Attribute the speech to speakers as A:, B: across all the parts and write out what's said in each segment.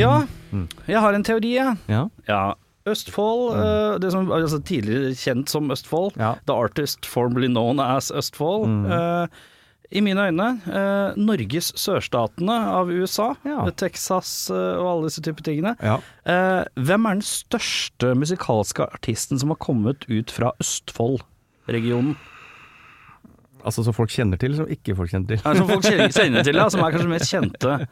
A: Ja, jeg har en teori, jeg.
B: Ja.
A: Ja. Østfold, eh, det som var altså, tidligere kjent som Østfold,
B: Mm. Ja. Mm.
A: the artist formerly known as Østfold. eh, I mine øyne eh, Norges sørstatene av USA,
B: Ja.
A: eh, Texas eh, og alle disse typer tingene.
B: Ja.
A: Eh, hvem er den største musikalske artisten som har kommet ut fra Østfold-regionen?
B: Altså som folk kjenner til, som ikke folk kjenner til.
A: Eh, Som folk kjenner kjenner til, ja, som er kanskje mest kjente.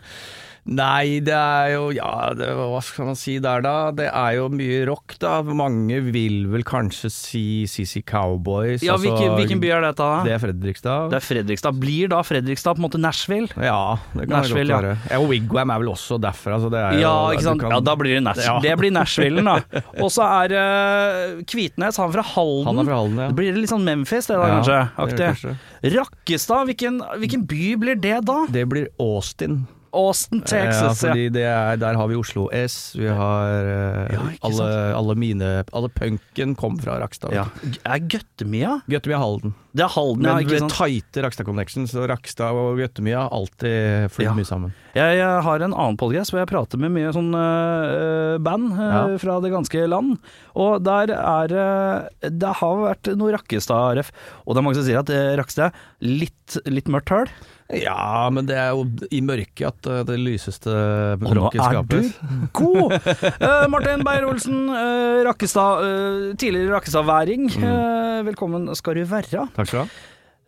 B: Nei, det er jo Ja, det, hva skal man si der, da? Det er jo mye rock, da. Mange vil vel kanskje si CC Cowboys.
A: Ja,
B: altså-
A: hvilken, hvilken by er dette, da?
B: Det er Fredrikstad.
A: det er Fredrikstad. Blir da Fredrikstad på en måte Nashville?
B: ja, det kan
A: Nashville,
B: det
A: ja.
B: godt være. Ja. og Wigwam er vel også derfra, så det er
A: Ja,
B: jo
A: ikke
B: du
A: sant?
B: kan-
A: ja, da blir det Nash.
B: Ja.
A: Det blir Nashvillen, da. Og så er eh, Kvitnes, han fra Halden.
B: Han er fra Halden, ja.
A: Det blir litt sånn Memphis, det da,
B: Ja,
A: kanskje.
B: det gjør
A: Aktig. Rakkestad, hvilken, hvilken by blir det da?
B: Det blir Austin.
A: Austin, Texas.
B: ja,
A: Ja,
B: fordi det er, der har vi Oslo S, vi har eh,
A: Ja, ikke
B: alle,
A: sant?
B: alle mine Alle punken kom fra Rakstad.
A: ja. Er Gøttemia?
B: Gøttemia Halden.
A: Det er Halden, ja.
B: Men
A: Ikke
B: ved
A: sant?
B: tighte Rakstad Connection, så Rakstad og Gøttemia har alltid flyr
A: Ja.
B: mye sammen.
A: Jeg eh, har en annen podcast hvor jeg prater med mye sånn eh, band eh,
B: Ja.
A: fra det ganske land. Og der er eh, Det har vært noe Rakkestad-ref. Og det er mange som sier at eh, Rakkestad er litt, litt mørkt høl.
B: Ja, men det er jo i mørket at eh, det lyseste
A: Og nå
B: rocket
A: er du
B: skapes.
A: god! Eh, Martin Beyer-Olsen, eh, Rakkestad, eh, tidligere Rakkestad-væring.
B: Mm.
A: Eh, velkommen skal du være.
B: Takk skal du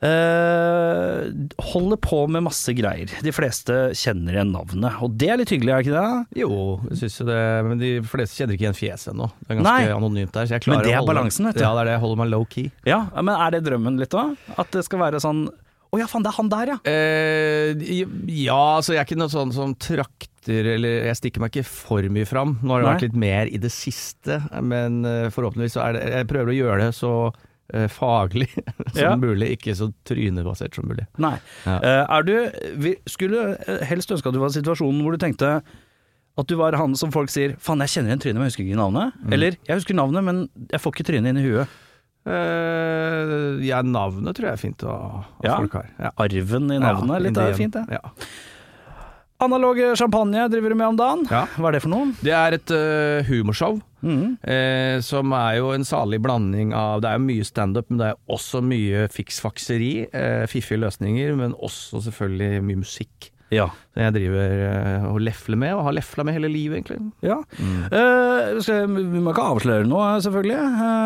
B: ha.
A: Eh, holder på med masse greier. De fleste kjenner igjen navnet, og det er litt hyggelig, er det ikke det?
B: Jo, jeg synes jo det, men de fleste kjenner ikke igjen fjeset ennå. Det er ganske
A: Nei.
B: anonymt der. Så jeg
A: Men
B: klarer
A: det er
B: å holde,
A: balansen, vet du.
B: Ja, det er det. Jeg holder meg low key.
A: Ja, Eh, men er det drømmen litt da? At det skal være sånn Å ja, faen, det er han der, ja!
B: Eh, ja, så jeg er ikke noe sånn som trakter eller Jeg stikker meg ikke for mye fram. Nå har det
A: Nei.
B: vært litt mer i det siste, men eh, forhåpentligvis så er det Jeg prøver å gjøre det så eh, faglig som
A: Ja.
B: mulig, ikke så trynebasert som mulig.
A: Nei.
B: Ja.
A: Eh, er du vi- Skulle eh, helst ønske at du var i situasjonen hvor du tenkte at du var han som folk sier 'faen, jeg kjenner igjen trynet, men jeg husker ikke navnet'.
B: Mm.
A: Eller 'jeg husker navnet, men jeg får ikke trynet inn i huet'.
B: Eh, ja, navnet tror jeg er fint å, at
A: Ja.
B: folk har. Ja.
A: Arven i navnet,
B: Ja,
A: litt
B: Indien.
A: er fint det.
B: Ja.
A: Analog champagne driver du med om dagen.
B: Ja.
A: Hva er det for noe?
B: Det er et eh, humorshow. Eh, som er jo en salig blanding av Det er jo mye standup, men det er også mye fiksfakseri. Eh, fiffige løsninger, men også selvfølgelig mye musikk.
A: Ja.
B: Som jeg driver eh, og lefler med, og har lefla med hele livet, egentlig.
A: ja. Eh, skal, vi må ikke avsløre noe, selvfølgelig.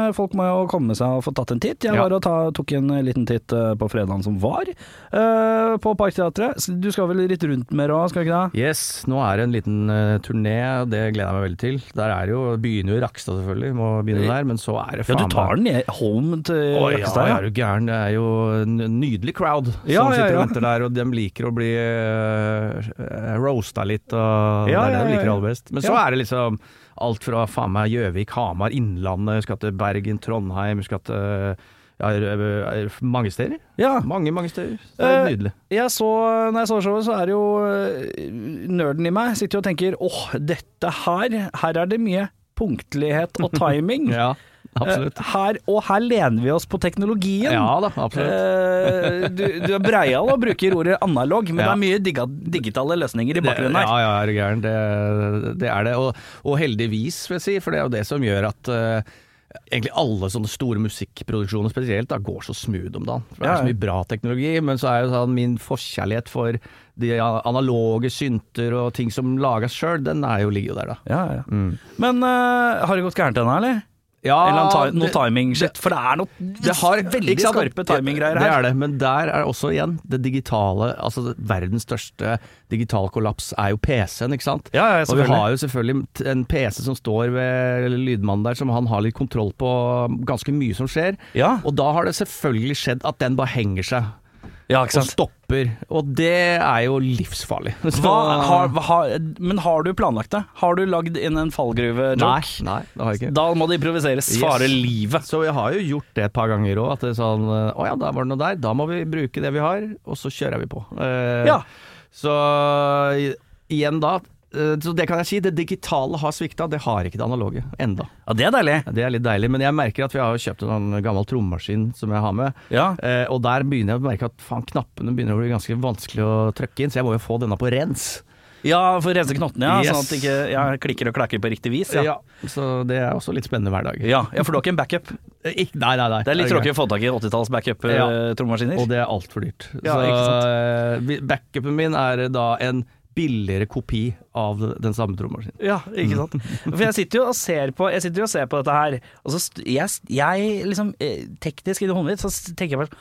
A: Eh, folk må jo komme seg og få tatt en titt. Jeg
B: Ja.
A: var og ta, tok en liten titt eh, på fredagen som var, eh, på Parkteatret. S- Du skal vel litt rundt mer òg, skal du ikke det?
B: Yes, nå er det en liten eh, turné, og det gleder jeg meg veldig til. Der er det jo Begynner jo i Rakstad, selvfølgelig, må begynne der, men så er det
A: Ja,
B: faen
A: du tar den ned home til
B: Å ja,
A: Rakkestad?
B: ja, er du gæren. Det er jo en nydelig crowd
A: Ja, ja,
B: som sitter
A: ja.
B: og venter der, og de liker å bli uh, roasta litt. Og
A: Ja, ja,
B: det er det de
A: ja,
B: liker
A: ja.
B: aller best. Men så
A: Ja.
B: er det liksom alt fra faen meg Gjøvik, Hamar, Innlandet, jeg skal til Bergen, Trondheim, jeg skal til ja, er- er- mange steder.
A: Ja.
B: Mange, mange steder. Så det er
A: Eh,
B: nydelig.
A: Jeg så, når jeg så showet, så er det jo øh, nerden i meg sitter jo og tenker åh, dette her, her er det mye punktlighet og timing.
B: Ja, absolutt.
A: Eh, Her, og her lener vi oss på teknologien.
B: Ja da, absolutt.
A: Eh, du, du er breial og bruker ordet analog, men det
B: Ja.
A: er mye digga, digitale løsninger i
B: Det,
A: bakgrunnen
B: ja,
A: her.
B: ja, er du gæren. Det, det er det. Og, og heldigvis, vil jeg si, for det er jo det som gjør at eh, egentlig alle sånne store musikkproduksjoner spesielt da, går så smooth om dagen. For det
A: Ja,
B: er
A: ja.
B: så mye bra teknologi, men så er jo sånn min forkjærlighet for de analoge synter og ting som lages sjøl, den er jo, ligger jo der, da.
A: Ja, ja. Men eh, har det gått gærent ennå, eller?
B: Ja,
A: eller noe, ti- noe
B: det-
A: timing-shit? For Ah, det er noe
B: det har
A: veldig
B: ikke sant?
A: skarpe timinggreier
B: Det
A: her.
B: er det, men der er også igjen det digitale Altså det- verdens største digital kollaps er jo PC-en, ikke sant?
A: Ja, ja,
B: og vi
A: selvfølgelig.
B: har jo selvfølgelig t- en PC som står ved lydmannen der, som han har litt kontroll på ganske mye som skjer.
A: Ja.
B: Og da har det selvfølgelig skjedd at den bare henger seg
A: Ja, ikke
B: og
A: sant?
B: stopper. Og det er jo livsfarlig. Så-
A: Hva, har, hva, har- men har du planlagt det? Har du lagd inn en
B: Nei,
A: fallgruve-joke?
B: nei, det har jeg ikke.
A: Da må det improviseres.
B: Yes.
A: Fare livet.
B: Så jeg har jo gjort det et par ganger òg. At det er sånn eh, Å ja, da var det noe der. Da må vi bruke det vi har, og så kjører vi på. Eh,
A: Ja.
B: Så i- igjen da. eh, Så det kan jeg si. Det digitale har svikta, det har ikke det analoge enda.
A: Ja, det er deilig.
B: Det er litt deilig. Men jeg merker at vi har jo kjøpt en sånn gammel trommaskin som jeg har med.
A: Ja.
B: Eh, og der begynner jeg å merke at faen, knappene begynner å bli ganske vanskelig å trykke inn, så jeg må jo få denne på rens.
A: Ja, for å rense knottene, ja.
B: Yes.
A: Sånn at det ikke ja, klikker og klakker på riktig vis. Ja.
B: Ja, så det er også litt spennende hver dag.
A: Ja, ja, for du har ikke en backup.
B: Eh, Ikke, nei, nei, nei.
A: Det er litt
B: greit.
A: tråkig å få tak i eh, 80-talls
B: Ja.
A: backup-trommemaskiner.
B: Og det er altfor dyrt.
A: Ja,
B: så
A: ikke sant?
B: eh, vi- backupen min er eh, da en billigere kopi av den samme trommaskinen.
A: Ja, ikke sant. For jeg sitter jo og ser på, jeg sitter jo og ser på dette her, og så st- jeg, jeg liksom eh, teknisk inni hodet mitt, så s- tenker jeg bare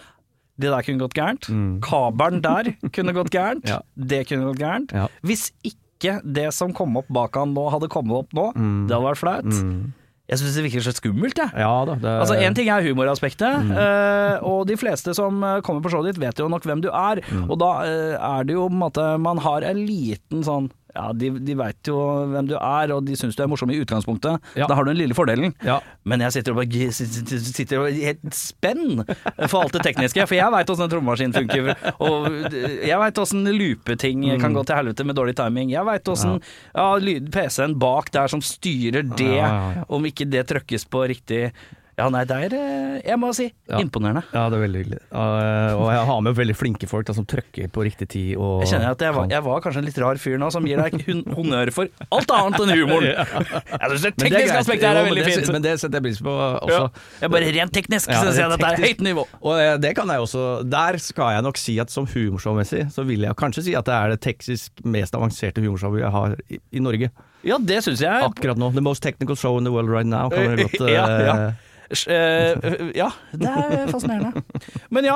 A: det der kunne gått gærent. Kabelen der kunne gått gærent.
B: Mm. Ja.
A: Det kunne gått gærent.
B: Ja.
A: Hvis ikke det som kom opp bak han nå, hadde kommet opp nå,
B: Mm.
A: det hadde vært flaut. Jeg syns det virker så skummelt, jeg.
B: Ja da. Det, Mm.
A: Altså, Én ting er humoraspektet, eh, og de fleste som eh, kommer på showet ditt vet jo nok hvem du er.
B: Mm.
A: Og da eh, er det jo på en måte Man har en liten sånn Ja, de, de veit jo hvem du er, og de syns du er morsom i utgangspunktet.
B: Ja.
A: Da har du den lille fordelen.
B: Ja.
A: Men jeg sitter og bare g- sitter sitter og i helt spenn for alt det tekniske. For jeg veit åssen en trommaskin funker, og eh, jeg veit åssen loopeting
B: Mm.
A: kan gå til helvete med dårlig timing. Jeg veit åssen ja, lyd- PC-en bak der som styrer det,
B: Ja, ja, ja.
A: om ikke det trykkes på riktig. Ja, nei, det er eh, Jeg må si
B: Ja.
A: imponerende.
B: Ja, det er veldig hyggelig. Eh, og jeg har med veldig flinke folk da, som trykker på riktig tid. Og
A: Jeg kjenner at jeg var,
B: kan.
A: jeg var kanskje en litt rar fyr nå, som gir deg hun- honnør for alt annet enn humoren. Jeg syns det
B: Men det er
A: tekniske
B: greit.
A: aspektet her
B: Jo,
A: er
B: men
A: veldig
B: det-
A: fint.
B: Men det setter jeg pris på
A: Ja.
B: også.
A: Jeg bare Rent teknisk
B: Ja,
A: syns jeg
B: rent
A: dette er
B: teknisk.
A: høyt nivå.
B: Og eh, det kan jeg også Der skal jeg nok si at som humorshowmessig, så vil jeg kanskje si at det er det teknisk mest avanserte humorshowet jeg har i, i Norge
A: Ja, det syns jeg.
B: akkurat nå. The most technical show in the world right now. Kan dere godt, eh,
A: Ja, ja. Sj- eh, ja, det er fascinerende. Men ja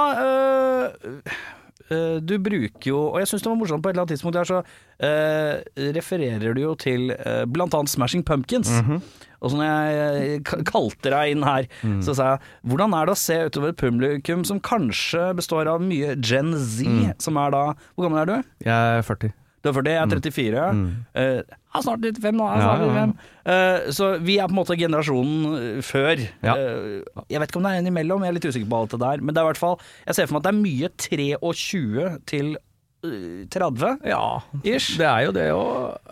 A: eh, eh, Du bruker jo Og jeg syns det var morsomt på et eller annet tidspunkt der, så eh, refererer du jo til eh, blant annet Smashing Pumpkins. Og så når jeg eh, k- kalte deg inn her, så sa jeg hvordan er det å se utover et publikum som kanskje består av mye Gen Z, som er da Hvor gammel er du?
B: Jeg er 40.
A: Du er 40, jeg er 34. Eh, jeg er snart 35 nå. Jeg er snart
B: Mm. Ja, ja, ja.
A: 35. Eh, så vi er på en måte generasjonen eh, før.
B: Ja.
A: Eh, jeg vet ikke om det er en imellom, jeg er litt usikker på alt det der. Men det er i hvert fall, jeg ser for meg at det er mye 23 til eh, 30.
B: Ja,
A: Ish.
B: det er jo det òg.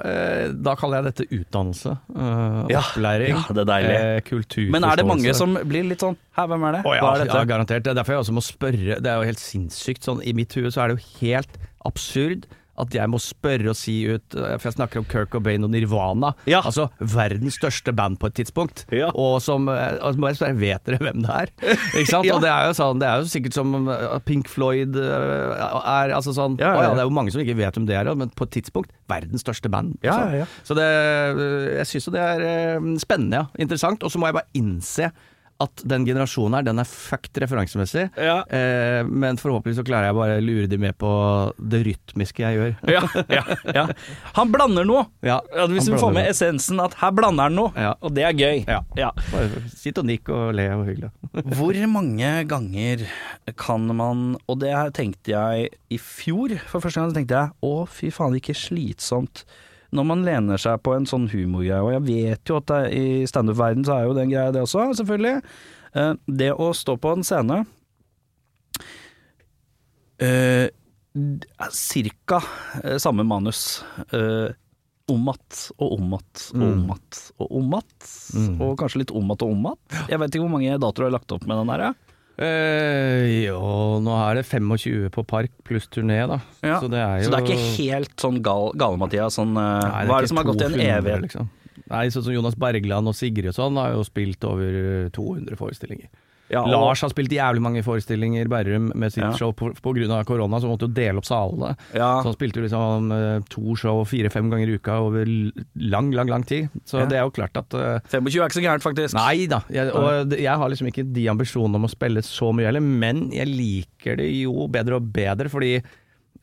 B: Da kaller jeg dette utdannelse. eh,
A: Ja,
B: Opplæring.
A: ja, det er deilig.
B: eh, Kulturforståelse.
A: Men er det mange som blir litt sånn Hæ, hvem er det?
B: Å ja,
A: Hva er
B: ja,
A: dette?
B: garantert. Det er derfor jeg også må spørre. Det er jo helt sinnssykt. Sånn, I mitt hue så er det jo helt absurd at jeg må spørre og si ut eh, For jeg snakker om Kirk Cobain og Nirvana.
A: Ja.
B: Altså verdens største band på et tidspunkt.
A: Ja.
B: Og som eh, altså, må jeg spørre, Vet dere hvem det er? Ikke sant?
A: Ja.
B: Og det er jo sånn Det er jo sikkert som eh, Pink Floyd eh, er altså sånn
A: Ja, ja,
B: Å
A: ja.
B: ja, det er jo mange som ikke vet hvem det er, men på et tidspunkt verdens største band.
A: Ja,
B: Sånn.
A: ja, ja.
B: Så det, jeg syns jo det er eh, spennende, ja. Interessant. Og så må jeg bare innse at den generasjonen her, den er fucked referansemessig.
A: Ja.
B: Eh, men forhåpentlig så klarer jeg bare å lure de med på det rytmiske jeg gjør.
A: Ja, ja, ja. Han blander noe.
B: Ja,
A: Ja, hvis du
B: han
A: får
B: blander
A: med
B: det.
A: essensen at her blander han noe,
B: Ja.
A: og det er gøy.
B: Ja.
A: Ja.
B: Bare Sitt og nikk og le og hyggelig.
A: Hvor mange ganger kan man Og det her tenkte jeg i fjor for første gang. Så tenkte jeg å, fy faen, ikke slitsomt. Når man lener seg på en sånn humorgreie, og jeg vet jo at det, er- i standup-verden så er jo den greia det også, selvfølgelig. Eh, Det å stå på en scene eh, d- Cirka eh, samme manus. Eh, om att og om att og
B: Mm.
A: om att og om att. Og kanskje litt om att og om att. Jeg vet ikke hvor mange datoer du har lagt opp med den her. jeg.
B: Eh, jo, nå er det 25 på Park pluss turné, da.
A: Ja.
B: Så det er jo
A: Så det er ikke helt sånn gal, gale, Mathias. Sånn, eh, hva
B: Nei,
A: er
B: ikke
A: det som har gått i en
B: 200,
A: evighet?
B: liksom. Nei, sånn som Jonas Bergland og Sigrid og sånn har jo spilt over 200 forestillinger.
A: Ja, og-
B: Lars har spilt jævlig mange forestillinger, Berrum, med sitt
A: Ja.
B: show på, på grunn av korona, så måtte jo dele opp salene.
A: Ja.
B: Så han spilte jo liksom eh, to show fire-fem ganger i uka over l- lang, lang, lang tid. Så
A: Ja.
B: det er jo klart at eh,
A: 25 er ikke så gærent, faktisk.
B: Nei da, jeg, og det- jeg har liksom ikke de ambisjonene om å spille så mye heller, men jeg liker det jo bedre og bedre, fordi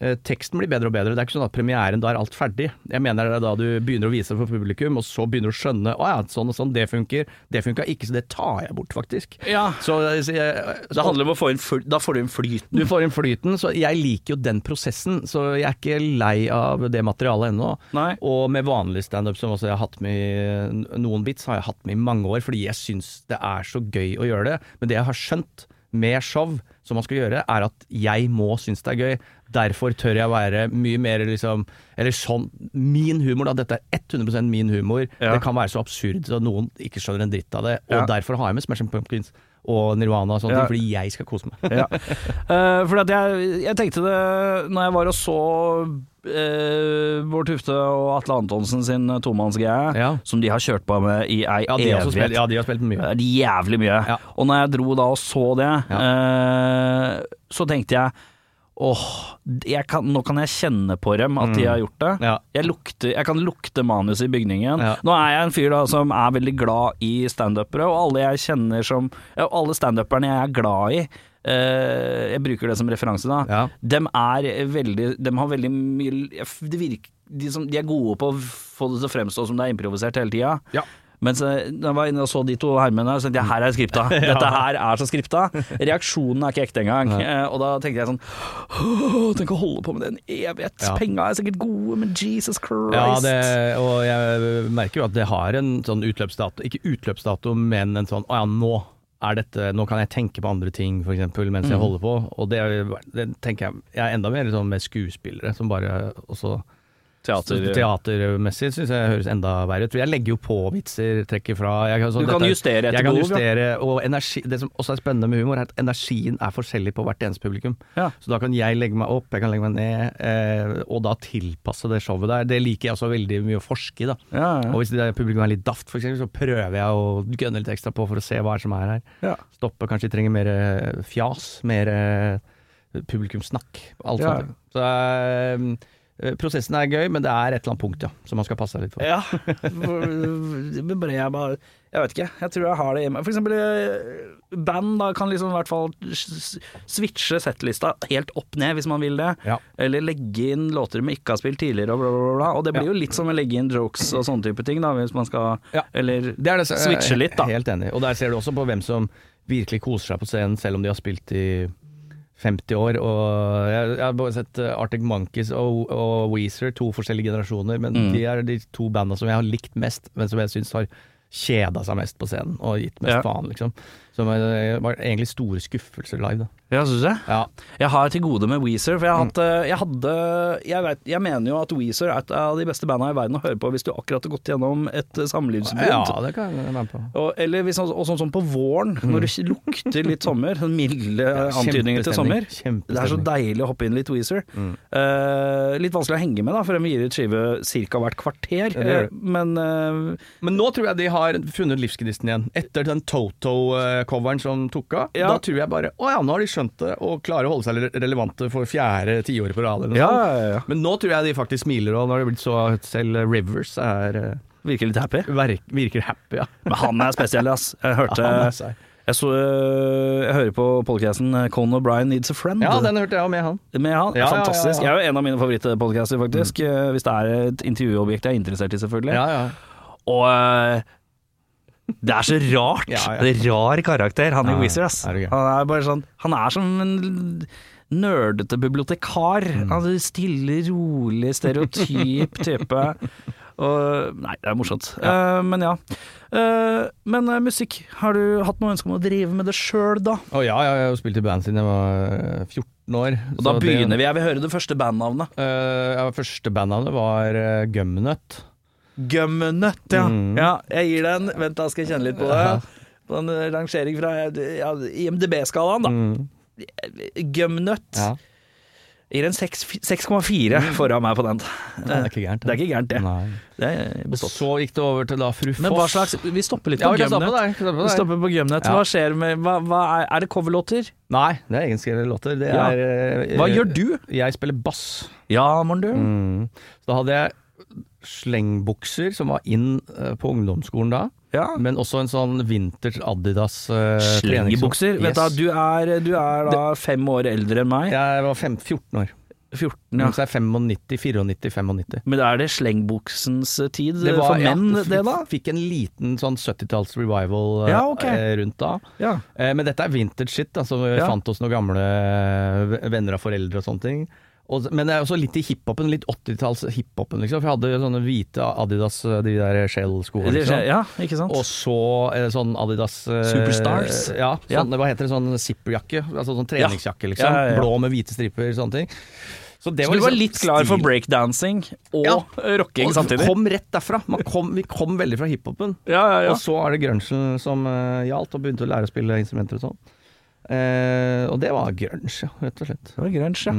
B: eh, teksten blir bedre og bedre. Det er ikke sånn at premieren, da er alt ferdig. Jeg mener det er da du begynner å vise det for publikum, og så begynner du å skjønne å ja, sånn og sånn, det funker, det funka ikke, så det tar jeg bort, faktisk.
A: Ja.
B: Så, eh, så jeg,
A: Det handler om å få inn fly, Da får du inn flyten.
B: du får inn flyten, så jeg liker jo den prosessen, så jeg er ikke lei av det materialet ennå.
A: Nei.
B: Og med vanlig standup, som også jeg har hatt med i noen bits, har jeg hatt med i mange år, fordi jeg syns det er så gøy å gjøre det. Men det jeg har skjønt med show, som man skal gjøre, er at jeg må synes det er gøy. Derfor tør jeg være mye mer liksom Eller sånn Min humor, da. Dette er 100 min humor.
A: Ja.
B: Det kan være så absurd så noen ikke skjønner en dritt av det.
A: Ja.
B: Og derfor har jeg med Smashing Pumpkins og Nirvana og sånne
A: Ja.
B: ting, fordi jeg skal kose meg.
A: ja. Eh, fordi at jeg, jeg tenkte det Når jeg var og så eh, Bård Tufte og Atle Antonsen sin tomannsgreie,
B: Ja.
A: som de har kjørt på med i ei
B: Ja, de har også spilt,
A: evighet.
B: ja, de har spilt mye.
A: Det er jævlig mye.
B: Ja.
A: Og når jeg dro da og så det, eh, så tenkte jeg åh, jeg kan, nå kan jeg kjenne på dem at de har gjort det.
B: Mm. Ja.
A: Jeg, lukter, jeg kan lukte manuset i bygningen.
B: Ja.
A: Nå er jeg en fyr da som er veldig glad i standupere, og alle jeg kjenner som ja, Alle standuperne jeg er glad i, eh, jeg bruker det som referanse da,
B: Ja.
A: dem er veldig Dem har veldig mye jeg- det virker, de, som, de er gode på å få det til å fremstå som det er improvisert hele tida.
B: Ja.
A: Mens eh, da jeg var inne og så de to hermene, så tenkte jeg her er skripta. Dette her er så skripta. Reaksjonen er ikke ekte engang. Eh, Og da tenkte jeg sånn «Åh, Tenk å holde på med det en evighet.
B: Ja.
A: Penga er sikkert gode, men Jesus Christ.
B: Ja, det, og jeg merker jo at det har en sånn utløpsdato, ikke utløpsdato, men en sånn å ja, nå er dette, nå kan jeg tenke på andre ting for eksempel mens jeg holder på, og det, det tenker jeg, jeg er enda mer sånn med skuespillere som bare også
A: Teater.
B: Teatermessig synes jeg høres enda verre ut. For jeg legger jo på vitser, trekker fra jeg kan, sånn,
A: Du kan
B: dette-
A: justere etter
B: Jeg kan
A: behov, ja.
B: justere, og energi, Det som også er spennende med humor, er at energien er forskjellig på hvert eneste publikum.
A: Ja.
B: Så da kan jeg legge meg opp, jeg kan legge meg ned, eh, og da tilpasse det showet der. Det liker jeg også veldig mye å forske i. da.
A: Ja, ja.
B: Og hvis det publikum er litt daft, for eksempel, så prøver jeg å gønne litt ekstra på for å se hva er som er her.
A: Ja.
B: Stoppe, kanskje de trenger mer eh, fjas, mer eh, publikumssnakk, alt
A: Ja.
B: sånt. Så eh, eh, prosessen er gøy, men det er et eller annet punkt, ja, som man skal passe seg litt for.
A: Ja. Men bare jeg bare Jeg vet ikke. Jeg tror jeg har det i meg. For eksempel eh, band da kan liksom i hvert fall s- s- switche settlista helt opp ned hvis man vil det.
B: Ja.
A: Eller legge inn låter de ikke har spilt tidligere og bla, bla, bla, bla. Og det blir
B: Ja.
A: jo litt som å legge inn jokes og sånne type ting da, hvis man skal
B: Ja.
A: Eller
B: Det er det,
A: switche litt, da.
B: Helt enig. Og der ser du også på hvem som virkelig koser seg på scenen, selv om de har spilt i 50 år. Og jeg, jeg har bare sett eh, Arctic Monkeys og, og Weezer, to forskjellige generasjoner, men
A: Mm.
B: de er de to banda som jeg har likt mest, men som jeg syns har kjeda seg mest på scenen, og gitt mest
A: Ja.
B: faen, liksom. Som eh, var egentlig store skuffelser live, da.
A: Ja, syns jeg.
B: Ja.
A: Jeg har til gode med Weezer, for jeg, har
B: Mm.
A: hatt, eh, jeg hadde jeg, vet, jeg mener jo at Weezer er et av de beste banda i verden å høre på hvis du akkurat har gått gjennom et eh, samlivsbrudd.
B: ja, det kan jeg være med på.
A: Og, eller hvis, og sånn som på våren,
B: Mm.
A: når det lukter litt sommer, sånn milde antydninger til sommer.
B: kjempestemning, kjempestemning. Mm.
A: Det er så deilig å hoppe inn litt Weezer. Eh, litt vanskelig å henge med, da, for de gir ut skive ca. hvert kvarter.
B: det gjør
A: Eh,
B: det.
A: men eh,
B: Men nå tror jeg de har funnet livsgnisten igjen. Etter den Toto-coveren som tok av.
A: Ja.
B: Da tror jeg bare å ja, nå har de skjønt det og klarer å holde seg re- relevante for fjerde tiåret på rad. eller noe
A: ja,
B: sånt.
A: ja, ja.
B: Men nå tror jeg de faktisk smiler, og nå har det blitt så at selv eh, Rivers er, eh,
A: virker litt happy.
B: verk, virker happy. Ja.
A: Men han er spesiell, ass. Jeg hørte
B: Han er seg.
A: jeg, så, eh, jeg hører på podcasten eh, Conan O'Brien Needs a Friend. eh,
B: ja, den hørte jeg om, jeg, han.
A: Med han.
B: Ja, ja, ja, ja.
A: Fantastisk. Jeg er jo en av mine favorittpodcaster, faktisk. eh, Hvis det er et intervjuobjekt jeg er interessert i, selvfølgelig.
B: Ja, ja.
A: Og øh, det er så rart.
B: Ja, ja.
A: Det er rar karakter, han
B: Ja,
A: i Weezer. Ass.
B: er det gøy.
A: han er bare sånn Han er som en nerdete bibliotekar. Altså, stille, rolig, stereotyp type. Og Nei, det er morsomt. Eh, men ja. Eh, men eh, musikk, har du hatt noe ønske om å drive med det sjøl, da?
B: Å ja, ja, jeg har jo spilt i band siden jeg var eh, 14 år. Eh,
A: Og da begynner vi. Jeg vil høre det første bandnavnet.
B: ja, første bandnavnet var eh, Gumnut.
A: Gumnut, ja. ja. Jeg gir deg en Vent, da skal jeg kjenne litt på det. På en eh, rangering fra Mm. ja, Mm. IMDb-skalaen, da. Gumnut.
B: Ja.
A: Jeg gir en seks- 6,4 foran meg på den.
B: Det er ikke gærent.
A: Det er ikke gærent, det.
B: Nei.
A: det er
B: Og
A: bestått.
B: så gikk det over til da fru Foss.
A: Men hva slags Vi stopper litt
B: ja,
A: på
B: vi kan stoppe
A: Gumnet.
B: der. vi kan stoppe
A: Vi
B: der.
A: stopper på Gumnet.
B: Ja.
A: Hva skjer med hva, hva er, er det coverlåter?
B: Nei, det er egenskrevne låter. Det
A: Ja.
B: er, eh,
A: Hva
B: eh,
A: gjør du? Mm.
B: Jeg spiller bass.
A: Ja, Morndøl.
B: Så da hadde jeg slengbukser som var inn eh, på ungdomsskolen da,
A: Ja.
B: men også en sånn vinters Adidas eh,
A: Slengebukser.
B: treningsbukse.
A: Vet
B: Yes.
A: du, du er, du er da fem år eldre enn meg.
B: Jeg var fem, 14 år.
A: 14, ja.
B: Ja. Så er 95, 94, 95.
A: Men er det slengbuksens tid for
B: ja,
A: menn,
B: fikk-
A: det da?
B: Fikk en liten sånn 70-talls revival eh,
A: Ja, ok.
B: eh, rundt da.
A: Ja.
B: Eh, Men dette er vintage shit, da, som vi
A: Ja.
B: fant oss noen gamle eh, v- venner av foreldre og sånne ting. Og, men det er også litt i hiphopen, litt 80-talls hiphopen, liksom. For jeg hadde jo sånne hvite Adidas, eh, de der Shell-skoene.
A: Det
B: liksom.
A: skjer, ja, ikke sant?
B: Og så eh, sånn Adidas eh,
A: Superstars?
B: Ja,
A: Ja.
B: sånn, hva heter det, sånn zipperjakke. Altså sånn treningsjakke, liksom.
A: Ja, ja, ja.
B: Blå med hvite striper, sånne ting. Så, det
A: Så du var
B: liksom
A: litt sånn klar for
B: stil.
A: breakdancing og
B: Ja.
A: rocking
B: Og
A: samtidig?
B: Kom rett derfra. Man kom, vi kom veldig fra hiphopen.
A: Ja, ja, ja.
B: Og så er det grunchen som eh, gjaldt, og begynte å lære å spille instrumenter og sånn. Eh, og det var grunge, ja, rett og slett.
A: Det var grunge, ja.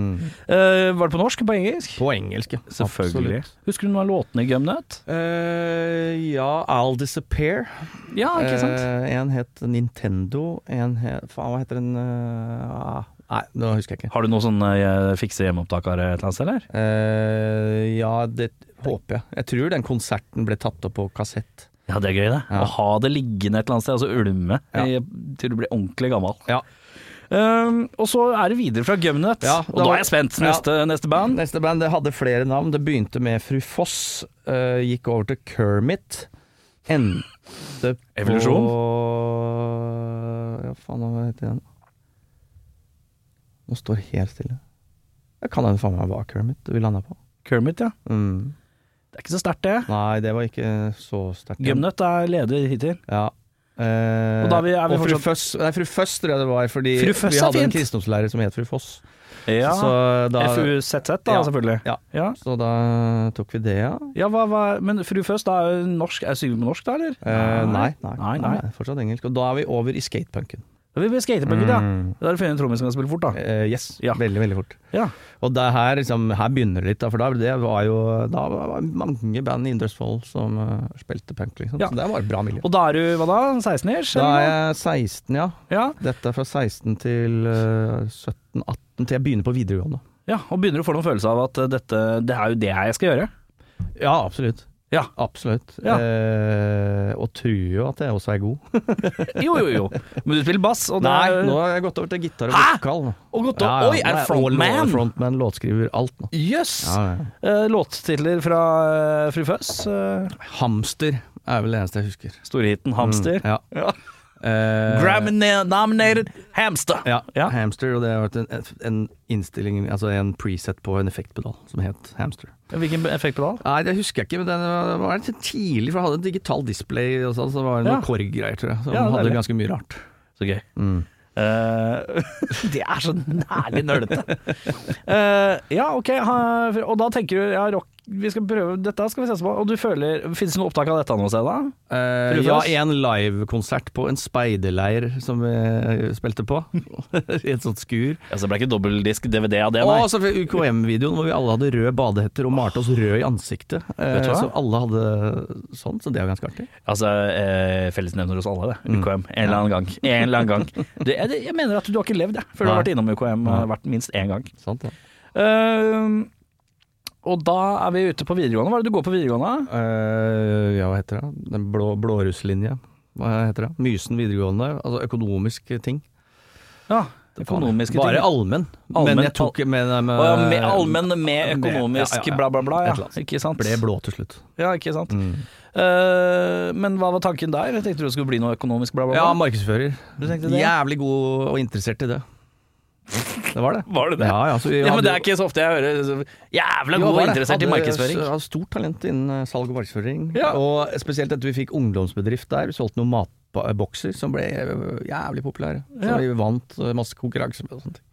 A: Eh, var det på norsk? På engelsk?
B: På engelsk, ja.
A: Selvfølgelig.
B: Absolutt.
A: Husker du noen av låtene i Gumnet?
B: Eh, ja, I'll Disappear.
A: Ja, Ah, ikke sant?
B: Eh, en het Nintendo, en het Faen, hva heter den eh, ah, Nei, nå husker jeg ikke.
A: Har du noe sånn eh, fikse hjemmeopptak av det et eller annet sted, eller?
B: Eh, ja, det håper jeg. Jeg tror den konserten ble tatt opp på kassett.
A: Ja, det er gøy, det.
B: Ja.
A: Å ha det liggende et eller annet sted, og så ulme
B: Ja.
A: i- til du blir ordentlig gammel.
B: Ja.
A: Um, og så er det videre fra Gumnet,
B: Ja,
A: og
B: da-
A: da er jeg spent. Neste, neste band.
B: Neste band det hadde flere navn. Det begynte med Fru Foss, eh, gikk over til Kermit. Endte på Ja, faen, hva heter den? Nå står det helt stille. Jeg kan hende faen meg var Kermit vi landa på.
A: Kermit, ja.
B: Mm.
A: Det er ikke så sterkt, det.
B: Nei, det var ikke så sterkt.
A: Gumnet er leder hittil.
B: Ja. Eh,
A: Og da er vi- er vi
B: og fru
A: fortsatt-
B: Føss Nei, fru Føss tror jeg det var, fordi
A: Fru Føss
B: vi
A: er
B: hadde en
A: fint.
B: kristendomslærer som het fru Foss.
A: Ja.
B: Så, da,
A: FUZZ, da,
B: Ja.
A: selvfølgelig.
B: Ja.
A: ja.
B: så da tok vi det, ja.
A: Ja, hva, hva, men Fru Føs, da er jo norsk, er synger på norsk da, eller?
B: Eh, nei, nei,
A: Nei,
B: nei,
A: nei.
B: fortsatt engelsk. Og da er vi over i skatepunken.
A: Da vil vi skatebølge, da.
B: Mm.
A: Da er det funnet en trommis som kan spille fort, da.
B: Eh, yes,
A: Ja.
B: veldig, veldig fort.
A: Ja.
B: Og det her, liksom, her begynner det litt, da, for da, det var jo, da var det mange band i Indre Østfold som eh, spilte punk, liksom.
A: Ja.
B: Så det var et bra miljø.
A: Og da er du, hva da, 16-ish?
B: Da er
A: eller
B: jeg 16, ja.
A: noe? Ja.
B: Dette er fra 16 til 17-18, til jeg begynner på videregående.
A: ja, og begynner du å få noen følelse av at eh, dette, det er jo det jeg skal gjøre.
B: Ja, absolutt.
A: Ja.
B: Absolutt.
A: Ja.
B: Eh, og tror jo at jeg også er god.
A: Jo, jo, jo. Men du spiller bass, og det
B: Nei,
A: er
B: nå har jeg gått over til gitar og
A: Hæ?
B: vokal.
A: Og godt, da. Oi, er det frontman?
B: Frontman, låtskriver, alt nå.
A: Jøss!
B: Ja, ja.
A: Eh, Låttitler fra eh, Fru Føs. eh,
B: Hamster er vel det eneste jeg husker.
A: Storhiten Hamster.
B: Mm, Ja.
A: Ja.
B: Eh,
A: Grammy-nominated Hamster.
B: ja.
A: Ja.
B: Hamster, og det har vært en, en innstilling, altså en preset på en effektpedal som het Hamster.
A: Hvilken effektpedal?
B: Nei, det husker jeg ikke, men den var, det var litt tidlig, for jeg hadde en digital display og sånn, så det var noe
A: Ja.
B: Korg-greier, tror jeg, som
A: Ja,
B: hadde
A: deilig.
B: ganske mye rart.
A: Så gøy.
B: Mm.
A: Eh, det er så nærlig nølete. Eh, ja, ok. ha- Og da tenker du ja, rock, vi skal prøve, dette skal vi se på. Og du føler, Finnes det noe opptak av dette noe sted, da?
B: Eh,
A: Tror du
B: ja,
A: det?
B: en livekonsert på en speiderleir som vi spilte på, i et sånt skur.
A: Altså, det ble ikke dobbeldisk-DVD av det,
B: Og så UKM-videoen hvor vi alle hadde rød badehetter og malte oss rød i ansiktet. Eh,
A: Vet du hva?
B: så alle hadde sånn, så det var ganske artig.
A: Altså, eh, Fellesnevner hos alle, det.
B: Mm.
A: UKM. En eller annen gang. En eller annen gang. Det, jeg, jeg mener at du har ikke levd, jeg, før du har
B: Nei.
A: vært innom UKM
B: Nei.
A: eh, vært minst én gang.
B: Sant, ja.
A: Eh, og da er vi ute på videregående. Hva er det du går på videregående?
B: Eh, ja, hva heter det? Den blå, blårusslinja. Hva heter det? Mysen videregående, altså økonomiske ting.
A: Ja, Økonomiske ting.
B: Bare allmenn.
A: Allmenn,
B: Men jeg tok med, eh, med,
A: Å, ja, med, allmenn Eh, med økonomisk
B: Ja, ja, ja.
A: bla, bla, bla.
B: Et eller
A: Ja.
B: annet.
A: Ikke sant?
B: Ble blå til slutt.
A: Ja, ikke sant. Eh, men hva var tanken der? Jeg tenkte du det skulle bli noe økonomisk bla, bla, bla.
B: Ja, markedsfører.
A: Du tenkte det?
B: Jævlig god og interessert i det. Det var det.
A: Var det det?
B: Ja, ja, så vi
A: Ja, men
B: hadde
A: det er
B: jo-
A: ikke så ofte jeg hører så jævla
B: Jo,
A: god
B: var
A: og
B: det.
A: interessert i
B: Hadde-
A: markedsføring.
B: Hadde stort talent innen eh, salg og markedsføring.
A: Ja.
B: Og spesielt etter vi fikk ungdomsbedrift der. Vi solgte noen matbokser som ble eh, jævlig populære. Så
A: Ja.
B: vi vant eh, masse konkurranser med og sånne ting.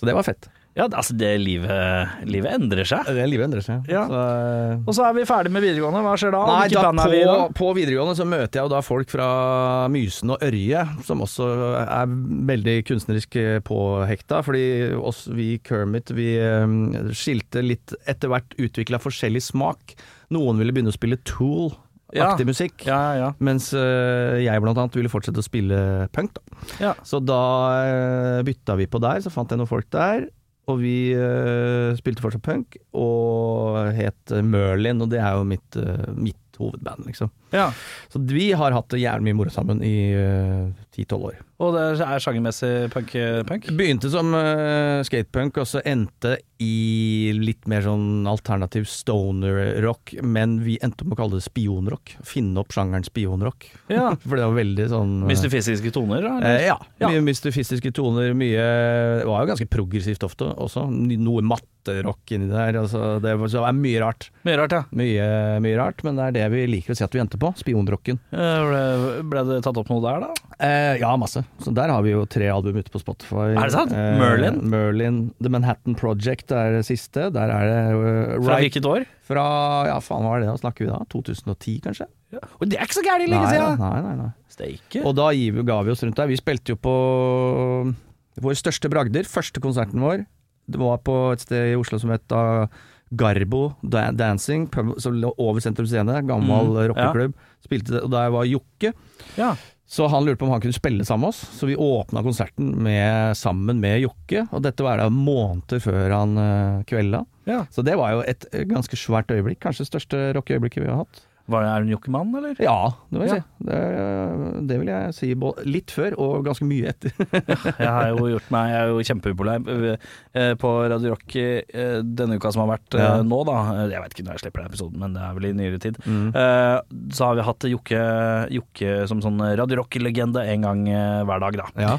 B: Så det var fett.
A: Ja, altså det livet, livet endrer seg.
B: Det livet endrer seg.
A: Ja.
B: Så, eh,
A: Og så er vi ferdig med videregående. Hva skjer da?
B: Nei,
A: Hvilke
B: da
A: band er vi i da?
B: på, på videregående så møter jeg jo da folk fra Mysen og Ørje, som også er veldig kunstnerisk eh, påhekta. Fordi oss, vi Kermit, vi eh, skilte litt etter hvert utvikla forskjellig smak. Noen ville begynne å spille
A: Ja.
B: Tool-aktig musikk.
A: Ja, ja,
B: Mens eh, jeg blant annet ville fortsette å spille punk, da.
A: ja.
B: Så da eh, bytta vi på der, så fant jeg noen folk der. Og vi eh, spilte fortsatt punk, og het eh, Merlin, og det er jo mitt, eh, mitt hovedband, liksom.
A: ja.
B: Så vi har hatt det jævlig mye moro sammen i eh, ti-tolv år.
A: Og det er sjangermessig punk? punk?
B: Begynte som eh, skatepunk, og så endte i litt mer sånn alternativ stoner-rock, men vi endte opp med å kalle det spionrock. Finne opp sjangeren spionrock.
A: Ja.
B: For det var veldig sånn eh,
A: Mystifistiske toner, da? eller?
B: Eh, ja.
A: Ja.
B: Mye mystifistiske toner. Mye Det var jo ganske progressivt ofte også. Noe matterock inni der. Altså, det var så det er mye rart.
A: Mye rart, ja.
B: Mye, mye rart, men det er det vi liker å si at vi endte på. Spionrocken.
A: Eh, Ble, ble det tatt opp noe der, da?
B: Eh, ja, masse. Så der har vi jo tre album ute på Spotify. Eh,
A: Er det sant? Merlin?
B: Merlin. The Manhattan Project er det siste. Der er det eh,
A: Fra
B: right-
A: hvilket år?
B: fra Ja, faen, hva er det da? Snakker vi da? 2010, kanskje?
A: Og det er ikke så gærent lenge
B: Nei,
A: siden!
B: nei, nei, nei.
A: Steike.
B: Og da gi- ga vi oss rundt der. Vi spilte jo på vår største bragder, første konserten vår. Det var på et sted i Oslo som het da Garbo Da- Dancing, pub, som lå over Sentrum Scene. Gammel
A: Mm,
B: rockeklubb. Spilte det, og der var Jokke.
A: Ja.
B: Så han lurte på om han kunne spille sammen med oss. Så vi åpna konserten med, sammen med Jokke, og dette var da måneder før han eh, kvelda.
A: Ja.
B: Så det var jo et eh, ganske svært øyeblikk. Kanskje det største rockeøyeblikket vi har hatt.
A: Var det, er du en jokkemann, eller?
B: Ja, det vil jeg
A: Ja.
B: si. Det, er, det vil jeg si både litt før og ganske mye etter.
A: Jeg har jo gjort meg Jeg er jo kjempeupopulær eh, på Radio Rock eh, denne uka som har vært eh,
B: Ja.
A: nå, da. Jeg vet ikke når jeg slipper den episoden, men det er vel i nyere tid.
B: Mm.
A: Eh, Så har vi hatt Jokke, Jokke som sånn Radio Rock-legende en gang eh, hver dag, da.
B: Ja.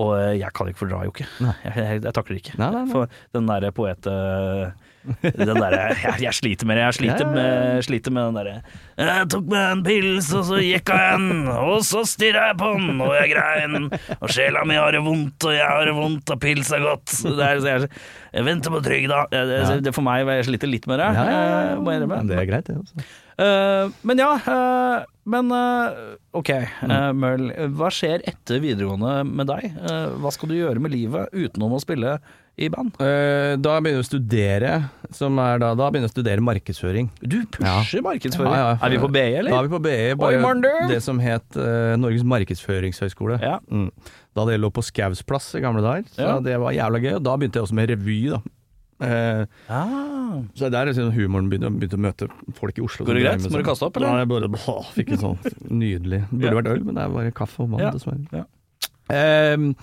A: Og eh, jeg kan ikke fordra Jokke.
B: Nei.
A: Jeg, jeg, jeg takler det ikke.
B: Nei, nei, nei.
A: For den derre poete... Den derre jeg, jeg sliter med det. Jeg sliter
B: Ja, ja, ja.
A: med, sliter med den derre Jeg tok meg en pils, og så jekka jeg den, og så stirra jeg på den, og jeg grein, og sjela mi har det vondt, og jeg har det vondt, og pils er godt. Det er, så jeg, jeg venter på trygda. Jeg- jeg-
B: Ja.
A: Det for meg, jeg sliter litt med det, eh, må jeg innrømme.
B: Men Det er greit, det. altså. Også.
A: Eh, men ja, eh, men eh, ok,
B: Mm.
A: eh, Merl, hva skjer etter videregående med deg? Eh, hva skal du gjøre med livet utenom å spille i band?
B: Eh, Da begynner jeg å studere, som er da, da begynner jeg å studere markedsføring.
A: Du pusher markedsføring.
B: Ja, ja.
A: Er vi på BI,
B: Da er
A: eller?
B: vi på BE,
A: Oi, morgen, du!
B: bare det som het eh, Norges markedsføringshøgskole.
A: Ja.
B: Mm. Da det lå på Skaus plass i gamle dager. Så
A: Ja.
B: det var jævla gøy. Og da begynte jeg også med revy, da. Eh,
A: Ah,
B: Så det er liksom humoren begynte, begynte å møte folk i Oslo.
A: Går det
B: som drev
A: greit?
B: med
A: Må du
B: sånn.
A: kaste opp, eller?
B: Nei, jeg bare bå, fikk en sånn nydelig Det burde
A: Ja.
B: vært øl, men det er bare kaffe og vann,
A: Ja,
B: dessverre.
A: ja.
B: Ehm,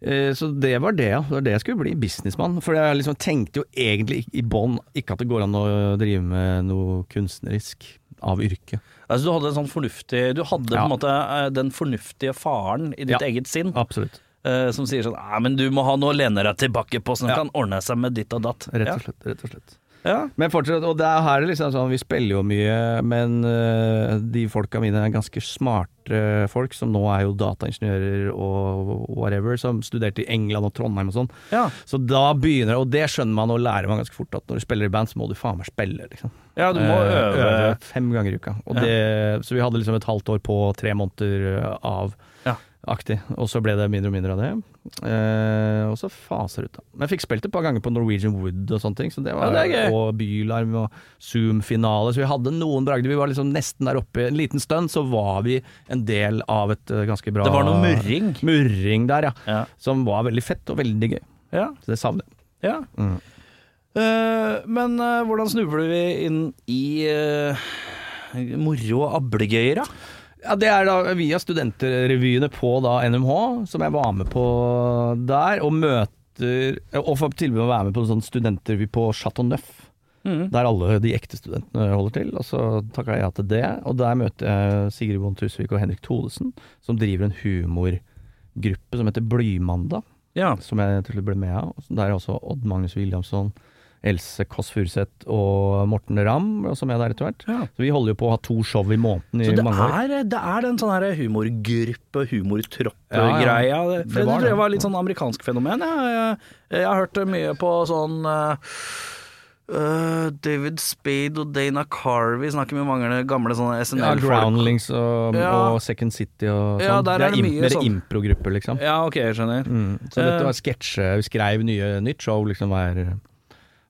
B: eh, så det var det, ja. Det var det jeg skulle bli. Businessmann. For jeg liksom tenkte jo egentlig i bånn ikke at det går an å drive med noe kunstnerisk av yrke.
A: altså, du hadde en sånn fornuftig Du hadde på
B: Ja.
A: en måte eh, den fornuftige faren i ditt
B: Ja.
A: eget sinn
B: Absolutt.
A: eh, som sier sånn Nei, men du må ha noe å lene deg tilbake på som
B: Ja.
A: kan ordne seg med ditt og datt.
B: Rett og slett. Rett og slett.
A: Ja. ja.
B: Men fortsatt, og det er her det liksom er sånn, vi spiller jo mye, men øh, de folka mine er ganske smarte folk, som nå er jo dataingeniører og whatever, som studerte i England og Trondheim og sånn.
A: Ja.
B: Så da begynner det, og det skjønner man og lærer man ganske fort, at når du spiller i band, så må du faen meg spille, liksom.
A: ja, du må
B: Eh,
A: øve.
B: Fem ganger i uka. Og
A: Ja.
B: det, så vi hadde liksom et halvt år på tre måneder øh, av.
A: Ja.
B: Aktig. Og så ble det mindre og mindre av det. Eh, og så faser det ut, da. Men jeg fikk spilt et par ganger på Norwegian Wood og sånne ting. Så det var,
A: Ja, det er gøy.
B: og Bylarm og Zoom-finale. Så vi hadde noen bragder. Vi var liksom nesten der oppe. En liten stund så var vi en del av et eh, ganske bra
A: Det var noe murring.
B: Murring der, ja.
A: Ja.
B: Som var veldig fett og veldig gøy.
A: ja.
B: Så det savner jeg.
A: Ja.
B: Mm.
A: Eh, men eh, hvordan snubler vi inn i eh, moro og ablegøyer, da?
B: Ja, Det er da via studenterrevyene på da NMH, som jeg var med på der, og møter Og får tilbud om å være med på en sånn studentrevy på Chateau Neuf.
A: Mm.
B: Der alle de ekte studentene holder til. Og så takka jeg ja til det. Og der møter jeg Sigrid Bonde Tusvik og Henrik Thodesen, som driver en humorgruppe som heter Blymandag
A: Ja.
B: som jeg til slutt ble med av. Der er også Odd Magnus Williamson, Else Kåss Furuseth og Morten Ramm, og som er der etter hvert.
A: Ja.
B: Så vi holder jo på å ha to show i måneden i
A: Så det
B: mange år.
A: er, det er den sånn her humorgruppe,
B: Ja, ja.
A: humortropp-greia.
B: Det
A: For det,
B: var
A: tror
B: det.
A: jeg var litt sånn amerikansk fenomen. Jeg, jeg, jeg har hørt det mye på sånn eh, eh, David Spade og Dana Carvey snakker med mange gamle sånne
B: Ja,
A: SNL-folk.
B: Groundlings og,
A: Ja.
B: og Second City og sånn.
A: Ja, der er det
B: imp-
A: mye
B: mer
A: sånn.
B: improgrupper, liksom.
A: Ja, ok, jeg skjønner.
B: Mm. Så
A: Eh.
B: dette var sketsje. Vi skrev nye, nytt show liksom hver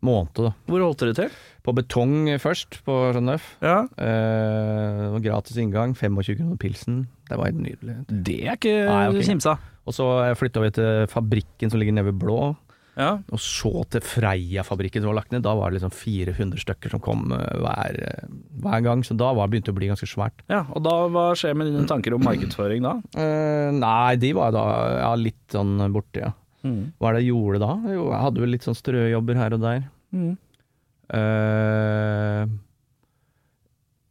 B: måned, da.
A: Hvor holdt dere til?
B: På betong først, på Jeanne d'Øff.
A: Ja.
B: Eh, det var gratis inngang, 25 kroner pilsen. Det var helt nydelig.
A: Det er ikke
B: Nei, ok.
A: simsa.
B: Og så flytta vi til fabrikken som ligger nede ved Blå,
A: Ja.
B: og så til Freia-fabrikken som var lagt ned. Da var det liksom 400 stykker som kom eh, hver, eh, hver gang, så da var, begynte det å bli ganske svært.
A: ja, Og da, hva skjer med dine tanker om markedsføring da?
B: Eh, nei, de var da ja, litt sånn borte, ja.
A: Mm.
B: Hva er det jeg gjorde da? Jo, jeg hadde jo litt sånn strøjobber her og der. Eh,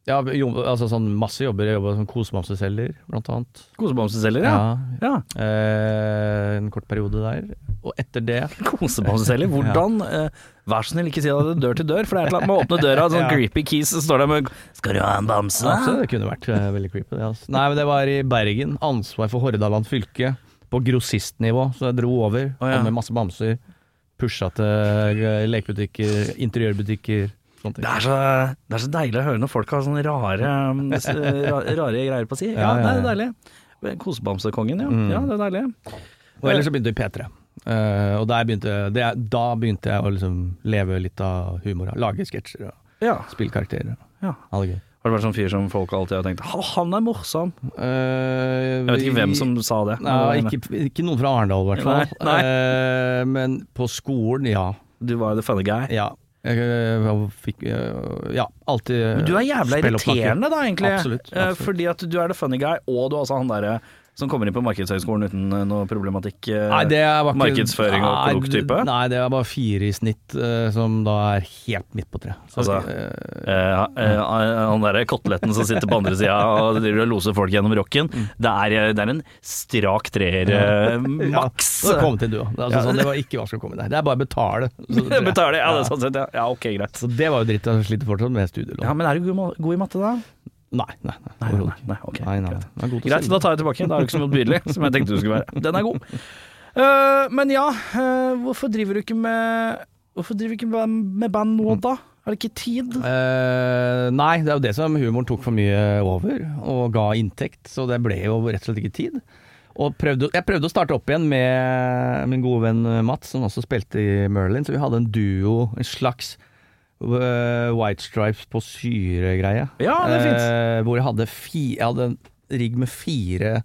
B: ja, jo, altså sånn masse jobber. Jeg jobba som kosemamseselger, blant annet.
A: Kosebamseselger, ja. ja.
B: Eh, en kort periode der. Og etter det
A: Kosebamseselger? Hvordan eh, Vær så snill, ikke si at det er dør til dør, for det er et eller annet med å åpne døra, sånn
B: Ja.
A: creepy keys så står der med Skal du ha en bamse?
B: Så det kunne vært eh, veldig creepy, det. Altså. Nei, men det var i Bergen. Ansvar for Hordaland fylke. På grossistnivå, så jeg dro over.
A: Å, ja.
B: Kom med masse bamser. Pusha til eh, lekebutikker, interiørbutikker, sånne ting.
A: Det er, så, det er så deilig å høre når folk har sånne rare, um, s- ra- rare greier på å si. Ja,
B: Ja,
A: det
B: ja,
A: er deilig. Kosebamsekongen, ja.
B: Mm.
A: ja. Det er deilig.
B: Og ellers så begynte vi i P3. Eh, og der begynte, det, er- da begynte jeg å liksom leve litt av humor. Lage sketsjer og
A: Ja.
B: spille karakterer.
A: Ja.
B: Ha det gøy.
A: Har det vært sånn fyr som folk alltid har tenkt «Ha, 'han er morsom'?
B: Eh,
A: Jeg vet ikke
B: vi-
A: hvem som sa det.
B: Nei, ikke, ikke noen fra Arendal, i hvert fall.
A: Nei, nei.
B: Eh, men på skolen, ja.
A: Du var jo the funny guy.
B: Ja. Jeg, eh, fikk eh, Ja, alltid
A: Men du er jævla
B: spillopptaker.
A: irriterende da, egentlig.
B: Eh, Absolutt,
A: Eh,
B: absolutt.
A: Fordi at du er the funny guy, og du er også han derre som kommer inn på Markedshøgskolen uten eh, noe problematikk. eh.
B: Nei, det er bare ikke-
A: Markedsføring og
B: Nei,
A: klok type?
B: Nei, det er bare fire i snitt, eh, som da er helt midt på treet. Så,
A: Altså,
B: eh,
A: Eh, eh, han derre koteletten som sitter på andre sida og driver og loser folk gjennom rocken. Det er, eh, det er en strak treer, eh, maks.
B: Mm. Ja, så kom til du òg. Altså, sånn, det var ikke vanskelig å komme der. Det er bare å betale. Så, det-
A: Betaler det? Ja, det er sånn sett, ja. ja. Ok, greit.
B: så det var jo dritt. Jeg sliter fortsatt med studielån.
A: Ja, Men er du god, ma- god i matte, da?
B: Nei, nei, nei.
A: Nei,
B: overhodet
A: nei, nei,
B: ikke.
A: ok,
B: nei, nei.
A: greit.
B: Den er god til å
A: Greit,
B: selge.
A: da tar jeg tilbake. Da er det ikke så motbydelig som jeg tenkte du skulle være. Den er god. Eh, men ja, eh, hvorfor driver du ikke med Hvorfor driver du ikke med, med band nå, da? Er det ikke tid?
B: Eh, nei, det er jo det som humoren tok for mye over, og ga inntekt. Så det ble jo rett og slett ikke tid. Og prøvde, jeg prøvde å starte opp igjen med min gode venn Mats, som også spilte i Merlin. Så vi hadde en duo, en slags eh, White Stripes på syre-greie.
A: Ja, det er fint.
B: Eh, hvor jeg hadde, fi, jeg hadde en rigg med fire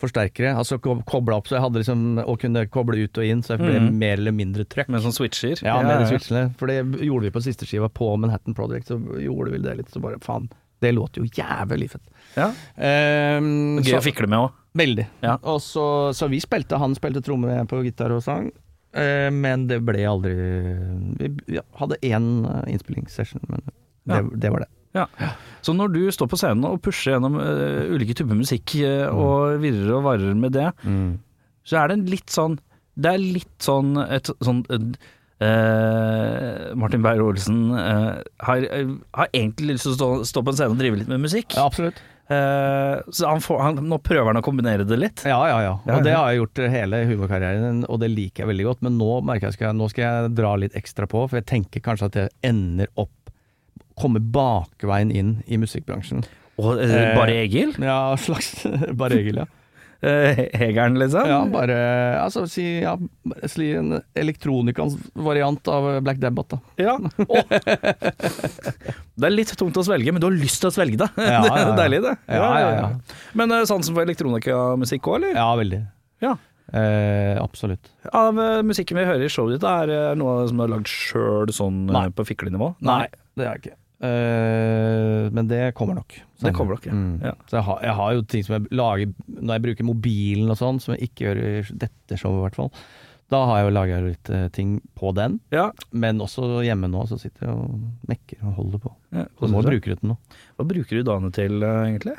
B: forsterkere. Altså kobla opp, så jeg hadde liksom Og kunne koble ut og inn, så jeg ble
A: Mhm.
B: mer eller mindre trøkk.
A: Med sånn switcher?
B: Ja, med de switchene. For det gjorde vi på siste skiva på Manhattan Project. Så gjorde vi det litt, så bare faen. Det låter jo jævlig fett.
A: Ja.
B: Ehm,
A: Gøy
B: så-
A: å fikle med òg.
B: Veldig.
A: Ja.
B: Og så, så vi spilte, han spilte tromme jeg på gitar og sang. Eh, men det ble aldri Vi vi hadde én eh, innspillingssession, men
A: Ja.
B: det, det var det.
A: Ja. Så når du står på scenen og pusher gjennom eh, ulike typer musikk eh, og virrer og varrer med det,
B: Mm.
A: så er det en litt sånn Det er litt sånn et sånn eh, eh, Martin Beyer-Olsen eh, har, eh, har egentlig lyst til å stå, stå på en scene og drive litt med musikk.
B: Ja, absolutt.
A: Eh, så han får, han, nå prøver han å kombinere det litt.
B: Ja, ja, ja.
A: Ja, ja.
B: Og det har jeg gjort hele humorkarrieren, og det liker jeg veldig godt. Men nå merker jeg skal, nå skal jeg dra litt ekstra på, for jeg tenker kanskje at jeg ender opp Komme bakveien inn i musikkbransjen.
A: Og eh,
B: Eh,
A: bare Egil?
B: Ja, slags Bare Egil, ja.
A: Eh, Hegeren, liksom?
B: ja bare altså, si, ja, si en elektronikans variant av Black Debbat, da.
A: Ja. Å. Det er litt tungt å svelge, men du har lyst til å svelge det.
B: Ja,
A: det er
B: ja, ja.
A: deilig, det.
B: Ja, ja, ja.
A: Men eh, sansen for elektronikamusikk òg, eller?
B: Ja, veldig.
A: Ja.
B: Eh, absolutt.
A: Av eh, musikken vi hører i showet ditt, er eh, noe av det som du har lagd sjøl sånn eh,
B: Nei.
A: på fiklenivå?
B: det er jeg ikke. Eh, men det kommer nok.
A: Det kommer nok, ja.
B: Mm.
A: Ja.
B: Så jeg har, jeg har jo ting som jeg lager når jeg bruker mobilen og sånn, som jeg ikke gjør i dette showet i hvert fall. Da har jeg jo laga litt eh, ting på den,
A: Ja.
B: men også hjemme nå så sitter jeg og mekker og holder på.
A: Ja,
B: Så du må
A: koser seg.
B: bruke det til noe.
A: Hva bruker du dagene til, eh, egentlig?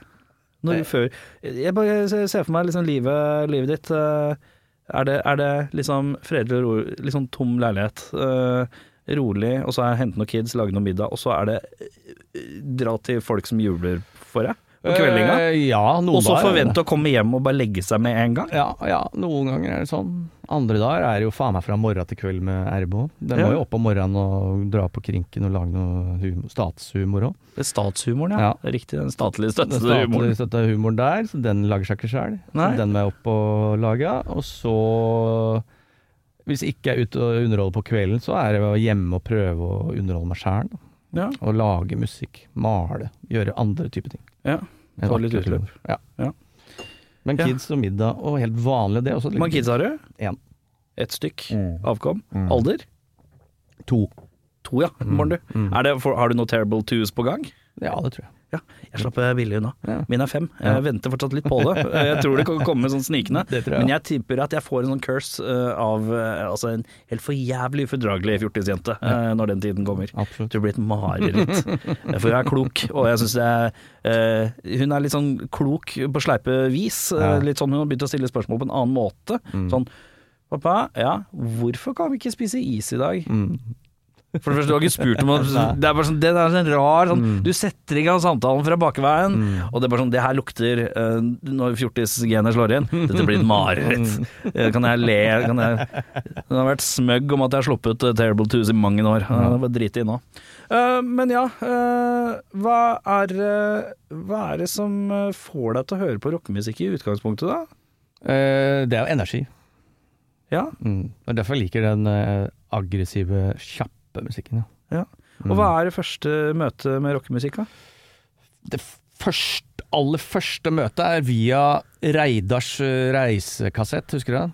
A: Når du før Jeg bare ser ser for meg liksom livet, livet ditt. eh, Er det, er det liksom fredelig og ro, litt sånn tom liksom leilighet? eh, rolig, og så er hente noen kids, lage noe middag, og så er det eh, dra til folk som jubler for deg på kveldinga.
B: Eh, ja, noen
A: Og så
B: dager er det.
A: forvente å komme hjem og bare legge seg med en gang.
B: Ja, ja, noen ganger er det sånn. Andre dager er det jo faen meg fra morgen til kveld med RBH. Den
A: Ja.
B: må jo opp om morgenen og dra på krinken og lage noe hum- statshumor òg.
A: Det er statshumoren, ja.
B: Ja.
A: Det er Riktig, den statlige
B: Den
A: støttede humoren.
B: statlige støtta humoren der, så den lager seg ikke sjæl.
A: Nei.
B: Den må jeg opp og lage. ja. Og så, hvis jeg ikke er ute og underholder på kvelden, så er det å hjemme og prøve å underholde meg sjæl.
A: Ja.
B: Og lage musikk, male, gjøre andre typer ting.
A: Ja.
B: Med
A: Ta litt
B: vakre
A: utløp.
B: humor. Ja.
A: Ja.
B: Men
A: Ja.
B: kids og middag og helt vanlig det. og så
A: Hvor mange kids har du?
B: En.
A: Ett stykk. Avkom. Alder?
B: To.
A: To, ja. Morgen, du. Er det, for, har du noe terrible twos på gang?
B: Ja, det tror jeg.
A: mm. Ja, jeg slapp billig unna.
B: Ja.
A: Min er fem. Jeg venter fortsatt litt på det. Jeg tror det kan komme sånn snikende.
B: Det tror jeg.
A: Men jeg tipper at jeg får en sånn curse eh, av eh, altså en helt for jævlig ufordragelig fjortisjente eh, når den tiden kommer.
B: Absolutt.
A: Det blir et mareritt. For hun er klok, og jeg syns jeg eh, Hun er litt sånn klok på sleipe vis. Eh,
B: Ja.
A: Litt sånn hun har begynt å stille spørsmål på en annen måte. Sånn Pappa, ja, hvorfor kan vi ikke spise is i dag?
B: Mm.
A: For det første, du har ikke spurt om Det er bare sånn, den er sånn rar sånn, Du setter i gang samtalen fra bakveien, og det er bare sånn Det her lukter eh, Når fjortisgenet slår inn, dette blir et mareritt. Eh, Kan jeg le? Kan jeg Den har vært smøgg om at jeg har sluppet eh, Terrible Twos i mange år. Ja, det var drit i nå. Eh, men ja, eh, hva, er, eh, hva er det som eh, får deg til å høre på rockemusikk i utgangspunktet, da?
B: Eh, det er jo energi.
A: Ja,
B: Mm. Det er derfor jeg liker den eh, aggressive, kjappe musikken. Ja.
A: ja. Og hva er det første møtet med rockemusikk, da?
B: Det f- første, aller første møtet er via Reidars eh, reisekassett, husker du den?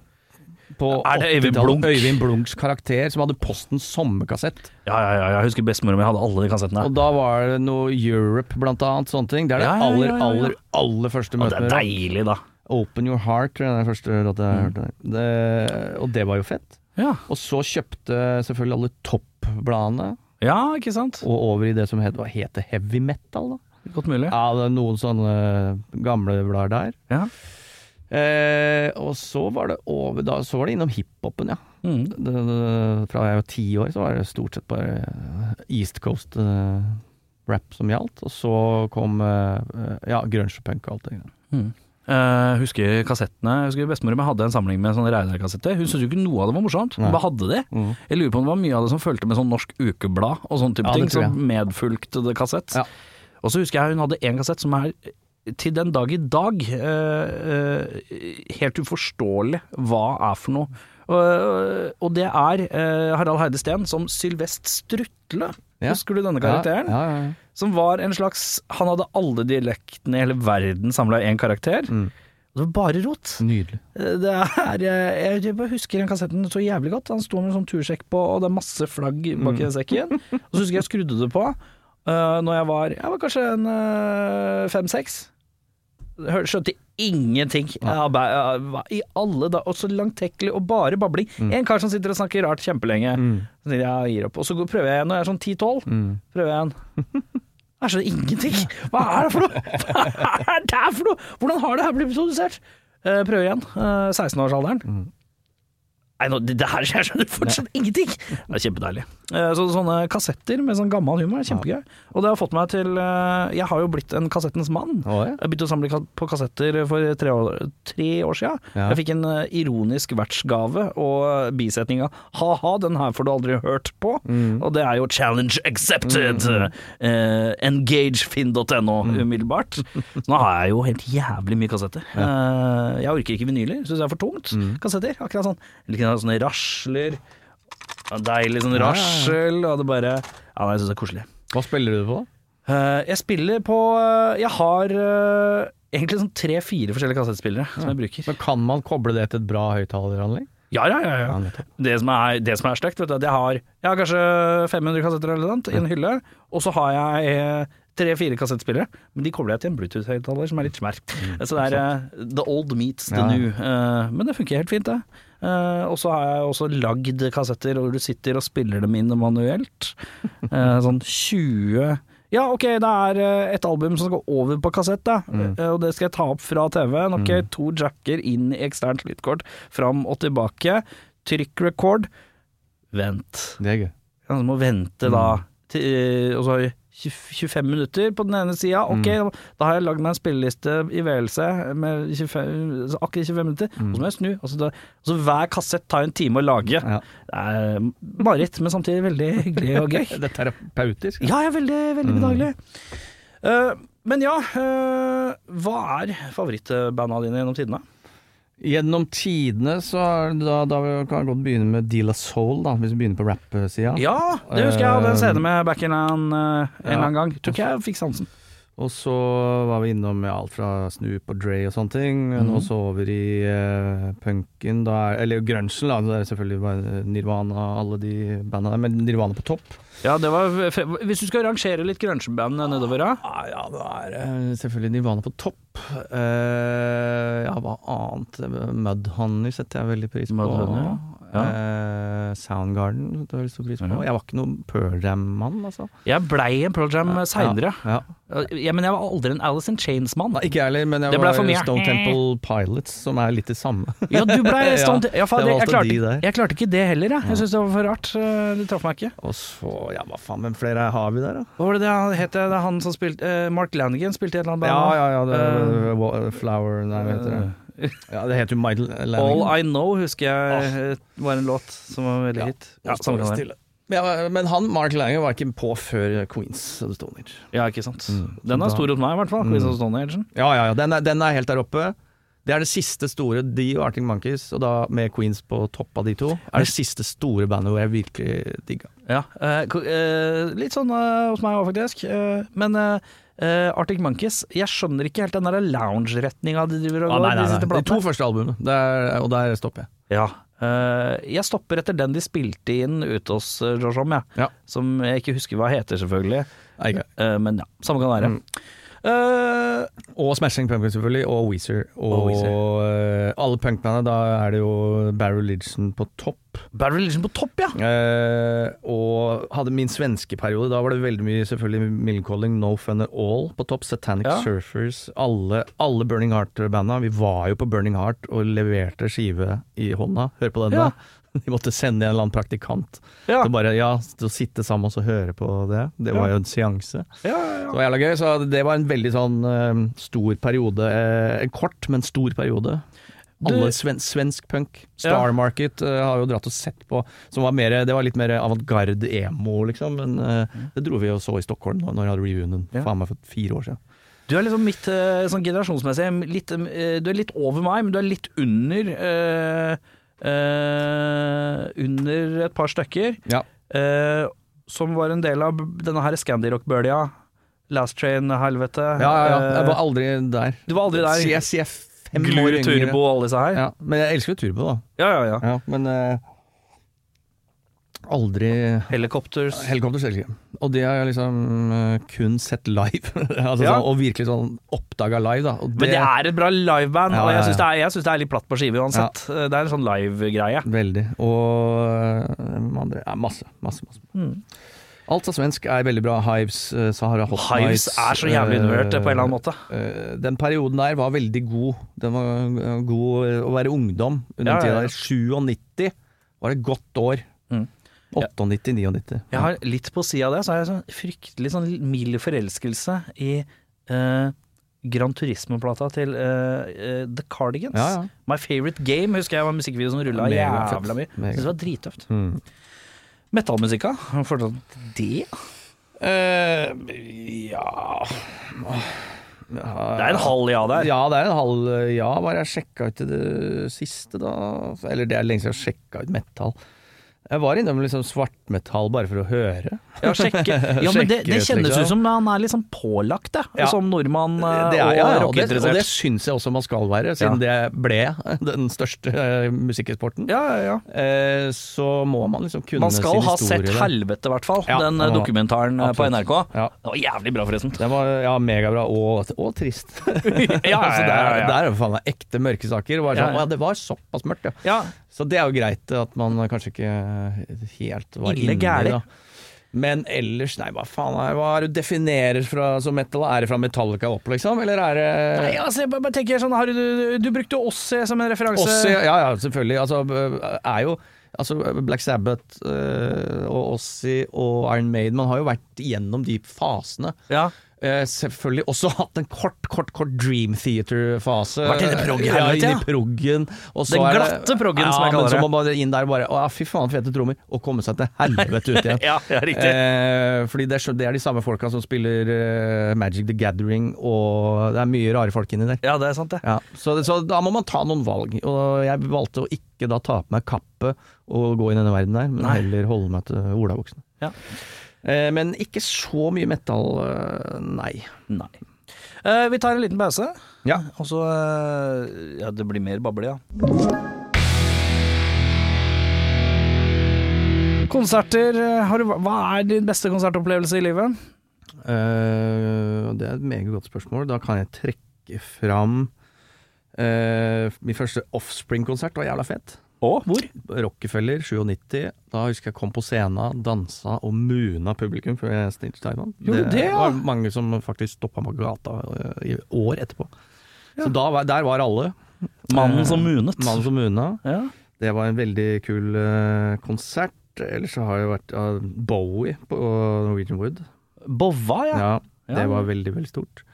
B: På
A: Er det Øyvind
B: 80-tallet.
A: Blunk?
B: Øyvind Blunks karakter, som hadde Postens sommerkassett.
A: Ja, ja, ja, jeg husker bestemora mi hadde alle de kassettene.
B: Og da var det noe Europe, blant annet. Sånne ting. Det er det
A: Ja, ja, ja,
B: aller,
A: ja, ja.
B: aller, aller første
A: Og det
B: møtet
A: er
B: med rock.
A: deilig, da.
B: Open Your Heart, tror jeg er den første låta
A: Mm.
B: jeg hørte. Det, og det var jo fett.
A: Ja,
B: Og så kjøpte selvfølgelig alle toppbladene.
A: ikke sant?
B: og over i det som het, hva heter heavy metal. da.
A: Godt mulig.
B: Ja, det er noen sånne gamle blader der.
A: Ja.
B: Eh, og så var det over da, så var det innom hiphopen, ja.
A: Mm.
B: Det, det, fra jeg var ti år, så var det stort sett bare eh, East Coast eh, rap som gjaldt. Og så kom eh, eh, ja, grunge og punk og alt det greiene.
A: Eh, husker kassettene Jeg husker Bestemora mi hadde en samling med sånne Reidar-kassetter. Hun syntes jo ikke noe av det var morsomt. Hun
B: Nei. Mm.
A: bare hadde det. Jeg lurer på om det var mye av det som fulgte med sånn Norsk Ukeblad og sånne type
B: Ja, det
A: ting.
B: tror jeg.
A: Som medfulgte det kassett.
B: Ja.
A: Og så husker jeg hun hadde en kassett som er til den dag i dag eh, eh, helt uforståelig hva er for noe. Og- og det er eh, Harald Heide Steen som Sylvest Strutle.
B: Ja.
A: Husker du denne karakteren?
B: Ja, ja, ja.
A: Som var en slags Han hadde alle dialektene i hele verden samla i én karakter. Det var bare rot.
B: Nydelig.
A: Det er, jeg jeg bare husker den kassetten så jævlig godt. Han står med en sånn tursekk på, og det er masse flagg bak i sekken. Og så husker jeg jeg skrudde det på uh, når jeg var Jeg var kanskje en eh, fem-seks. Skjønte ingenting. Ja, ba- ja, hva I alle da Og så langtekkelig og bare babling. En kar som sitter og snakker rart kjempelenge. Så sier jeg «Ja, jeg gir opp. Og så går- prøver jeg igjen når jeg er sånn 10-12. Prøver jeg igjen. Jeg skjønner ingenting! Hva er det for noe?! Hva er det her for noe?! Hvordan har det her blitt produsert? Eh, prøv igjen. Eh, 16-årsalderen. Nei, nå, det, det her jeg skjønner fortsatt ingenting! Det er kjempedeilig. Eh, så, sånne kassetter med sånn gammel humor er kjempegøy. Og det har fått meg til eh, Jeg har jo blitt en kassettens mann.
B: Å, ja.
A: Jeg begynte å samle ka- på kassetter for tre år, tre år siden.
B: Ja.
A: Jeg fikk en eh, ironisk vertsgave og bisetninga 'ha-ha, den her får du aldri hørt på'.
B: Mm.
A: Og det er jo 'challenge accepted'. Eh, engagefinn.no
B: Mm.
A: umiddelbart. Så nå har jeg jo helt jævlig mye kassetter. Eh, jeg orker ikke vinyler, syns jeg er for tungt.
B: Mm.
A: Kassetter, akkurat sånn. Eller kunne ha sånne rasler. Deilig sånn rasel, og det bare Ja, nei, jeg syns det er koselig.
B: Hva spiller du på?
A: Eh, jeg spiller på Jeg har eh, egentlig sånn tre-fire forskjellige kassettspillere som jeg bruker.
B: Men Kan man koble det til et bra høyttaleranlegg?
A: Ja, ja, ja. ja. Det som er, det som er stygt, vet du, det har Jeg har kanskje 500 kassetter eller noe sånt i en hylle, og så har jeg eh, tre-fire kassettspillere, men de kobler jeg til en Bluetooth-høyttaler som er litt smær. så det er eh, the old meets the
B: Mm, Ja.
A: new. Eh, men det funker helt fint, det. Eh, og så har jeg også lagd kassetter hvor du sitter og spiller dem inn manuelt. Eh, sånn 20 ja, ok, det er eh, et album som skal over på kassett, da.
B: Mm.
A: Eh, Og det skal jeg ta opp fra TV-en. Ok, to jacker inn i eksternt lydkort, fram og tilbake. Trykk record. Vent.
B: Det er gøy.
A: Han må vente da til, eh, og så har vi 20 25 minutter på den ene sida. Ok, da har jeg lagd meg en spilleliste i VLC med 25, altså akkurat 25 minutter. Og så må jeg snu. Altså, da, altså hver kassett tar en time å lage.
B: Ja.
A: Det er mareritt, men samtidig veldig hyggelig og gøy.
B: Det er terapeutisk.
A: Ja, ja, veldig, veldig bedagelig. Eh, men ja, eh, hva er favorittbanda dine gjennom tidene?
B: Gjennom tidene så er det da, da kan vi godt begynne med De La Soul, da, hvis vi begynner på rap-sida.
A: Ja, det husker jeg hadde en
B: Eh,
A: CD med back in an, eh, en
B: ja.
A: eller annen gang. Tror ikke jeg fikk sansen.
B: Og så var vi innom ja, alt fra Snoop og Dre og sånne ting, men også over i eh, punken, da, er- eller grunchen, da. Det er selvfølgelig bare Nirvana og alle de bandene der, men Nirvana på topp.
A: Ja, det var fe- Hvis du skal rangere litt grungeband nedover, da.
B: Ja, ja det er eh, selvfølgelig Nirvana på topp. Eh, ja, hva annet? Mudhoney setter jeg veldig pris på.
A: Mudhoney, ja. Ja.
B: Eh, Soundgarden setter jeg veldig stor pris på.
A: Ja.
B: Jeg var ikke noen Pearl Jam-mann, altså.
A: Jeg blei en Pearl Jam seinere.
B: Ja.
A: Ja, men jeg var aldri en Alice in Chains-mann.
B: Nei, ikke jeg heller, men jeg
A: Det ble
B: var
A: for mye.
B: Stone Temple Pilots, som er litt det samme.
A: Ja, du blei stand... Ja, faen, jeg, jeg,
B: det var alltid de
A: klarte,
B: der.
A: jeg klarte ikke det heller, jeg. Jeg syns det var for rart. eh, Det traff meg ikke.
B: Og så, ja hva faen, hvem flere har vi der, da?
A: Hva var det det han het? Det er han som spilte eh, Mark Lanigan spilte i et eller annet band.
B: Ja,
A: da.
B: ja, ja, det,
A: Eh,
B: Wa- Flower Nei, hva heter det? Ja, det heter jo Michael
A: All
B: Lanning.
A: I Know husker jeg eh, var en låt som var veldig
B: Ja. sånn
A: hit. Ja, samme kan det være.
B: Ja, men han, Mark Lanning, var ikke på før Queens of the Stone Age.
A: ja, ikke sant.
B: Mm.
A: Den er
B: Da-
A: stor hos meg, i hvert fall. Quiz of Stone Age.
B: Ja, ja, ja, den er, den er helt der oppe. Det er det siste store, de og Arctic Monkeys, og da med Queens på topp av de to, er det siste store bandet hvor jeg virkelig digga.
A: Ja, eh, ko- eh, litt sånn eh, hos meg òg, faktisk. Eh, men eh, eh, Arctic Monkeys Jeg skjønner ikke helt den der lounge-retninga de driver og
B: Ah,
A: går de siste
B: De to
A: platene.
B: første albumene, der, og der stopper jeg.
A: Ja. Eh, jeg stopper etter den de spilte inn ute hos eh, Josh Homme, jeg.
B: Ja.
A: som jeg ikke husker hva heter, selvfølgelig.
B: Nei, ikke.
A: Eh, men ja, samme kan det
B: Mm.
A: være. Eh,
B: Og Smashing Pumpkins selvfølgelig, og Weezer. Og,
A: Og Weezer.
B: eh, alle punkbandene, da er det jo Barry Religion på topp.
A: Bad Religion på topp, ja!
B: Eh, og hadde min svenske periode, da var det veldig mye selvfølgelig Millen Calling, No Fun At All på topp. Satanic
A: Ja.
B: Surfers, alle, alle Burning Heart-banda. Vi var jo på Burning Heart og leverte skive i hånda. Hør på
A: Ja.
B: denne. De måtte sende en eller annen praktikant.
A: Ja,
B: Så bare, ja, Å sitte sammen og så høre på det, det var jo en seanse.
A: ja, ja, ja.
B: Det var jævla gøy, så det var en veldig sånn eh, stor periode. eh, En kort, men stor periode. Alle
A: Du-
B: sven svensk punk. Star Market eh, har jo dratt og sett på, som var mer, det var litt mer avantgarde emo, liksom. Men eh, det dro vi og så i Stockholm nå, når jeg hadde reunion
A: Mm. Ja.
B: faen meg for fire år siden.
A: Du er liksom mitt eh, sånn generasjonsmessig litt, eh, Du er litt over meg, men du er litt under eh, eh, Under et par stykker.
B: Ja.
A: eh, som var en del av denne her Scandirock-bølja. Last Train-helvete.
B: Ja, ja, ja. Jeg var
A: Eh,
B: aldri der.
A: du var aldri der.
B: Så jeg sier fem år
A: Glur,
B: yngre.
A: Turbo og alle disse her.
B: Ja, men jeg elsker jo Turbo, da.
A: Ja, ja, ja.
B: Ja, men eh, aldri
A: Helicopters.
B: Helikopter selger ikke. Og det har jeg liksom eh, kun sett live. altså,
A: Ja.
B: sånn, og virkelig sånn oppdaga live, da. Og
A: Men det er et bra liveband,
B: Ja,
A: og
B: ja,
A: jeg
B: ja.
A: syns det, er- jeg synes det er litt platt på skive uansett. Eh, Det er en sånn live-greie.
B: Veldig. Og eh, hvem andre ja, Masse, masse, masse.
A: Mm.
B: Alt av svensk er veldig bra. Hives, eh, Sahara Hot
A: Hives er så jævlig undervurdert eh, på en eller annen måte.
B: Den perioden der var veldig god. Den var eh, god eh, å være ungdom under
A: Ja,
B: den
A: ja,
B: tida. der. 97 var et godt år.
A: Mm.
B: 98-99.
A: Jeg har litt på sida av det, så har jeg sånn fryktelig sånn mild forelskelse i eh, Grand Turismo-plata til eh, eh, The Cardigans.
B: Ja, ja.
A: My Favorite Game husker jeg var en musikkvideo som rulla
B: Megafett.
A: jævla mye.
B: Megafett.
A: Synes det var drittøft.
B: Mm.
A: Metallmusikka, har du fortsatt det?
B: Eh, ja
A: Det er en halv ja der.
B: Ja, det er en halv ja, bare jeg sjekka ut det siste, da. Eller det er lenge siden jeg har sjekka ut metal. Jeg var innom liksom svartmetall bare for å høre.
A: Ja, sjekke. ja men det, det
B: Sjekket,
A: kjennes
B: liksom.
A: ut som han er litt sånn pålagt, det.
B: Ja.
A: Som nordmann eh,
B: Det er-
A: og
B: ja, ja, og det, og det
A: rockeinteressert.
B: syns jeg også man skal være, siden det ble den største eh, musikkeksporten.
A: Ja, ja, ja.
B: Eh, så må man liksom kunne
A: Man skal
B: sin
A: ha
B: historie.
A: sett
B: der.
A: helvete, i hvert fall.
B: Ja,
A: den eh,
B: ja,
A: dokumentaren eh, på
B: absolutt.
A: NRK.
B: Ja.
A: Det var jævlig bra, forresten.
B: Den var ja, megabra og, og trist. ja,
A: ja,
B: Så
A: ja, ja.
B: der, der er Altså, det faen meg ekte mørke saker. Bare
A: Ja,
B: sånn,
A: ja.
B: Å, ja, det var såpass mørkt, ja.
A: Ja,
B: Så det er jo greit at man kanskje ikke helt var
A: Ille
B: inne i
A: gærlig.
B: det. Men ellers, nei, hva faen er hva er det du definerer fra, som metal? Er det fra Metallica opp, liksom? Eller er det
A: Nei, altså, jeg bare- bare tenker sånn, har du, du brukte Ossie som en referanse.
B: Også, ja, ja, selvfølgelig. Altså, er jo Altså Black Sabbath eh, og Ossie og Iron Maiden. Man har jo vært gjennom de fasene.
A: Ja.
B: Eh, selvfølgelig også hatt en kort, kort kort Dream Theater-fase.
A: Vært inne i prog-helvete,
B: ja.
A: ja.
B: Inni proggen. og så
A: Den
B: er det-
A: glatte proggen, som jeg
B: men
A: kaller
B: Så
A: det.
B: må man bare inn der og bare Å, fy faen, fete trommer. Og komme seg til helvete ut igjen.
A: Ja, ja, riktig.
B: Eh, fordi det er, så- det er de samme folka som spiller eh, Magic the Gathering, og det er mye rare folk inni der.
A: ja, det er sant, det.
B: Ja, så, så da må man ta noen valg, og jeg valgte å ikke da ta på meg kappet og gå inn i denne verden der, men
A: Nei.
B: heller holde meg til olabuksene.
A: Ja.
B: Eh, men ikke så mye metal, eh, nei.
A: Nei. Eh, vi tar en liten pause,
B: Ja.
A: og så eh, Ja, det blir mer bable, ja. Konserter eh, har du, Hva er din beste konsertopplevelse i livet?
B: Eh, det er et meget godt spørsmål. Da kan jeg trekke fram eh, min første Offspring-konsert. var jævla fet.
A: Og hvor?
B: Rockefeller 97. Da husker jeg kom på scenen, dansa og muna publikum før jeg snitchtegna.
A: Gjorde du det, ja?
B: var mange som faktisk stoppa meg på gata eh, i år etterpå. Så da var, der var alle.
A: Mannen som munet.
B: Eh, Mannen som muna.
A: Ja.
B: Det var en veldig kul eh, konsert. Ellers så har jeg vært eh, Bowie på eh, Norwegian Wood.
A: Bova, ja.
B: Ja,
A: Ja.
B: det var veldig, veldig stort.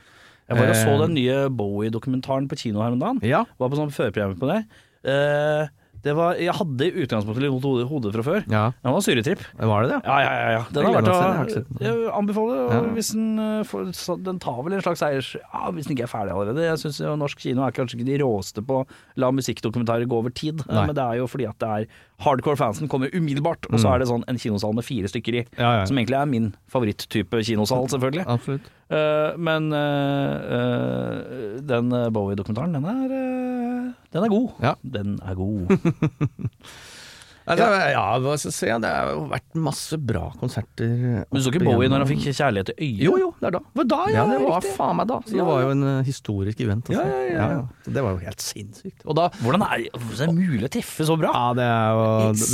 A: Jeg var og så
B: Eh,
A: den nye Bowie-dokumentaren på kino her om dagen.
B: Ja,
A: Var på sånn førpremiere på det. Eh, det var, jeg hadde i utgangspunktet litt vondt i hodet- hodet fra før.
B: ja.
A: Den var syretripp.
B: Var det det?
A: Ja, ja, ja. ja. Den
B: Jeg
A: har
B: gleder
A: vært
B: meg til den, jeg har
A: å
B: ikke sett den.
A: Jeg anbefaler
B: Ja.
A: og hvis den eh, får så Den tar vel en slags eiers... Ja, hvis den ikke er ferdig allerede. Jeg syns norsk kino er kanskje ikke de råeste på å la musikkdokumentarer gå over tid, eh,
B: Nei.
A: men det er jo fordi at det er hardcore fansen kommer umiddelbart, og så er det sånn en kinosal med fire stykker i.
B: Mm. Ja, ja.
A: Som egentlig er min favoritttype kinosal, selvfølgelig.
B: Absolutt.
A: Eh, men eh, eh, den eh, Bowie-dokumentaren, den er eh, Den er god.
B: Ja.
A: Den er god.
B: Altså, ja, hva skal jeg si, det har jo vært masse bra konserter.
A: Men du så ikke Bowie når han fikk kjærlighet i øyet?
B: Jo, jo, det er da. Ja, det var
A: riktig.
B: faen meg da. Så
A: Ja,
B: det var jo en eh, historisk event. altså.
A: Ja, ja, ja.
B: Så Det var jo helt sinnssykt. Og da
A: Hvordan er, hvordan er det mulig å treffe så bra?
B: ja, det er jo,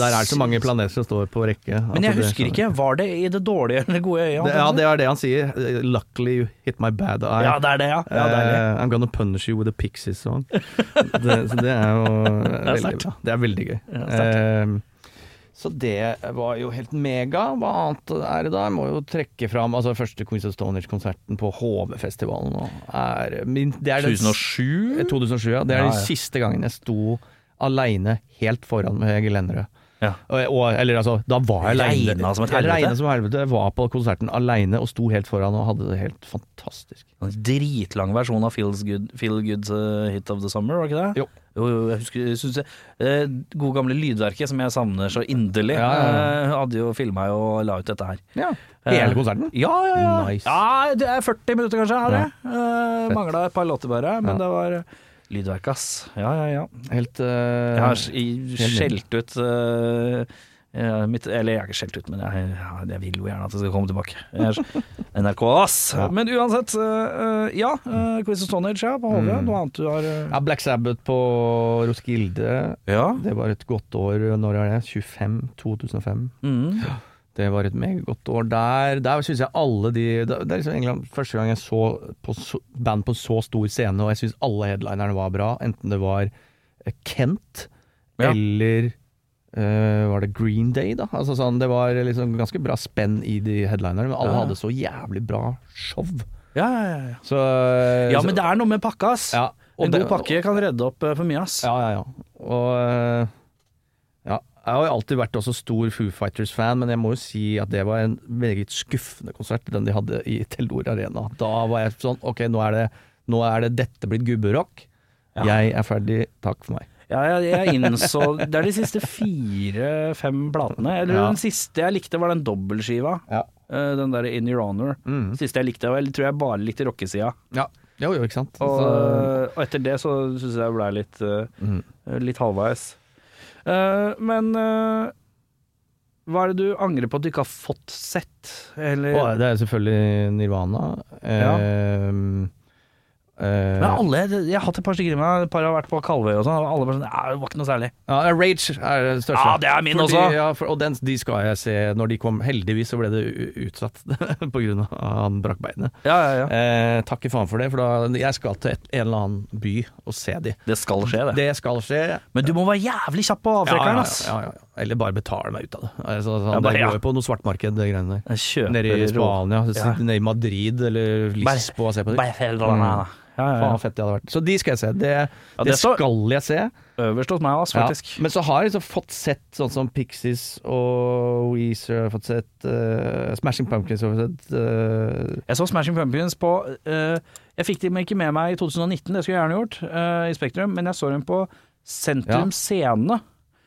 B: Der er det så mange planeter som står på rekke.
A: Men jeg
B: Altså, det-
A: husker ikke. Var det i det dårlige eller gode øyet?
B: Det, ja, det er det han sier. Eh, Luckily you hit my bad eye.
A: ja, det er det, ja. ja det er det.
B: Eh, I'm gonna punish you with a Pixies song. det, så det er jo eh, veldig
A: sterkt.
B: bra. Det er veldig gøy.
A: Ja,
B: Eh, så det var jo helt mega. Hva annet er det da? Jeg må jo trekke fram altså, første Queens of Stonehenge-konserten på HV-festivalen. nå er min- det er den-
A: 2007?
B: Eh, 2007, ja. Det er
A: Ja, ja.
B: den siste gangen jeg sto aleine helt foran med gelenderet.
A: Ja.
B: Og, og, eller altså, da var jeg aleine.
A: Regnet som et
B: Jeg
A: helvete.
B: regnet som helvete. Jeg var på konserten aleine og sto helt foran og hadde det helt fantastisk.
A: En Dritlang versjon av Feels Good, Feel Good eh, Hit of the Summer, var ikke det?
B: Jo.
A: Jo, jo, jeg husker, jeg synes jeg, eh, gode gamle Lydverket, som jeg savner så inderlig,
B: Ja, ja,
A: eh, hadde jo filma og la ut dette her.
B: Ja.
A: Eh,
B: Hele konserten?
A: Ja, ja, ja.
B: Nice.
A: ja det er 40 minutter kanskje, er det. Eh,
B: Fett.
A: Mangla et par låter bare, men
B: Ja.
A: det var eh, Lydverket, ass. Ja, ja, ja.
B: Helt eh,
A: Jeg har s- i- skjelt ut eh, eh, mitt, Eller jeg har ikke skjelt ut, men jeg, ja, jeg vil jo gjerne at det skal komme tilbake. Jeg er s- NRK, ass!
B: Ja.
A: Men uansett, eh, eh, ja. eh, Quiz of Stonehenge ja, på HV.
B: Mm.
A: Noe annet du har eh,
B: ja, Black Sabbath på Roskilde.
A: Ja.
B: Det var et godt år. Når er det? 25? 2005?
A: Mm.
B: Det var et megagodt år der. Der syns jeg alle de Det det er liksom egentlig første gang jeg så på så, band på så stor scene, og jeg syns alle headlinerne var bra. Enten det var eh, Kent
A: Ja.
B: eller eh, var det Green Day, da? Altså sånn, det var liksom ganske bra spenn i de headlinerne, men alle
A: Ja.
B: hadde så jævlig bra show.
A: Ja, ja, ja, ja.
B: Så
A: ja,
B: Eh, så-
A: men det er noe med pakka, ass.
B: ja,
A: En god
B: det-
A: pakke kan redde opp eh, for mye, ass.
B: Ja, ja, ja. Og eh, ja, jeg har jo alltid vært også stor Foo Fighters-fan, men jeg må jo si at det var en meget skuffende konsert, den de hadde i Telenor Arena. Da var jeg sånn Ok, nå er det, nå er det dette blitt gubberock. Jeg er ferdig, takk for meg.
A: Ja, jeg, jeg innså Det er de siste fire-fem platene. Eller
B: Ja.
A: den siste jeg likte, var den dobbeltskiva.
B: Ja.
A: Eh, Den der In Your Honor.
B: Mm.
A: Siste jeg likte, jeg tror jeg bare likte rockesida.
B: Ja. Jo, jo, ikke sant.
A: Og, eh,
B: Så,
A: og etter det så syns jeg jeg blei litt, eh,
B: mm.
A: litt halvveis. Eh, men eh, hva er det du angrer på at du ikke har fått sett? Eller
B: Og det er selvfølgelig Nirvana.
A: Ja.
B: Ehm, eh,
A: men alle, jeg har hatt et par stykker i meg, et par har vært på Kalvøy og sånn, og alle bare sånn Ja, det var ikke noe særlig.
B: Ja, Rage er det største.
A: Ja, det er min
B: Fordi-
A: også.
B: Ja, for, og den, de skal jeg se når de kom. Heldigvis så ble det u- utsatt på grunn av han brakk beinet.
A: Ja, ja, ja.
B: Eh, takk i faen for det, for da, jeg skal til et, en eller annen by og se de.
A: Det skal skje, det.
B: Det skal skje.
A: Men du må være jævlig kjapp på avtrekkeren, ass.
B: ja, ja, ja. Eller bare betale meg ut av det. Altså, sånn,
A: Ja, bare-
B: det
A: ja.
B: går jo på noe svartmarked, det greiene der.
A: Jeg kjøper
B: Nede i
A: rå-
B: Spania, sitte nede i Madrid eller Lisboa og se på det.
A: Bare feil, da, nei, da. Mm. Ja, ja,
B: Faen,
A: ja.
B: hvor fett det hadde vært. Så de skal jeg se. Det,
A: Ja,
B: det
A: det står-
B: skal jeg se.
A: Øverst hos meg, ass,
B: Ja.
A: faktisk.
B: Men så har jeg liksom fått sett sånn som Pixies og Weezer, jeg har fått sett eh, Smashing Pumpkins har jeg fått sett eh,
A: Jeg så Smashing Pumpkins på eh, Jeg fikk dem ikke med meg i 2019, det skulle jeg gjerne gjort, eh, i Spektrum, men jeg så dem på Sentrum
B: Ja.
A: Scene.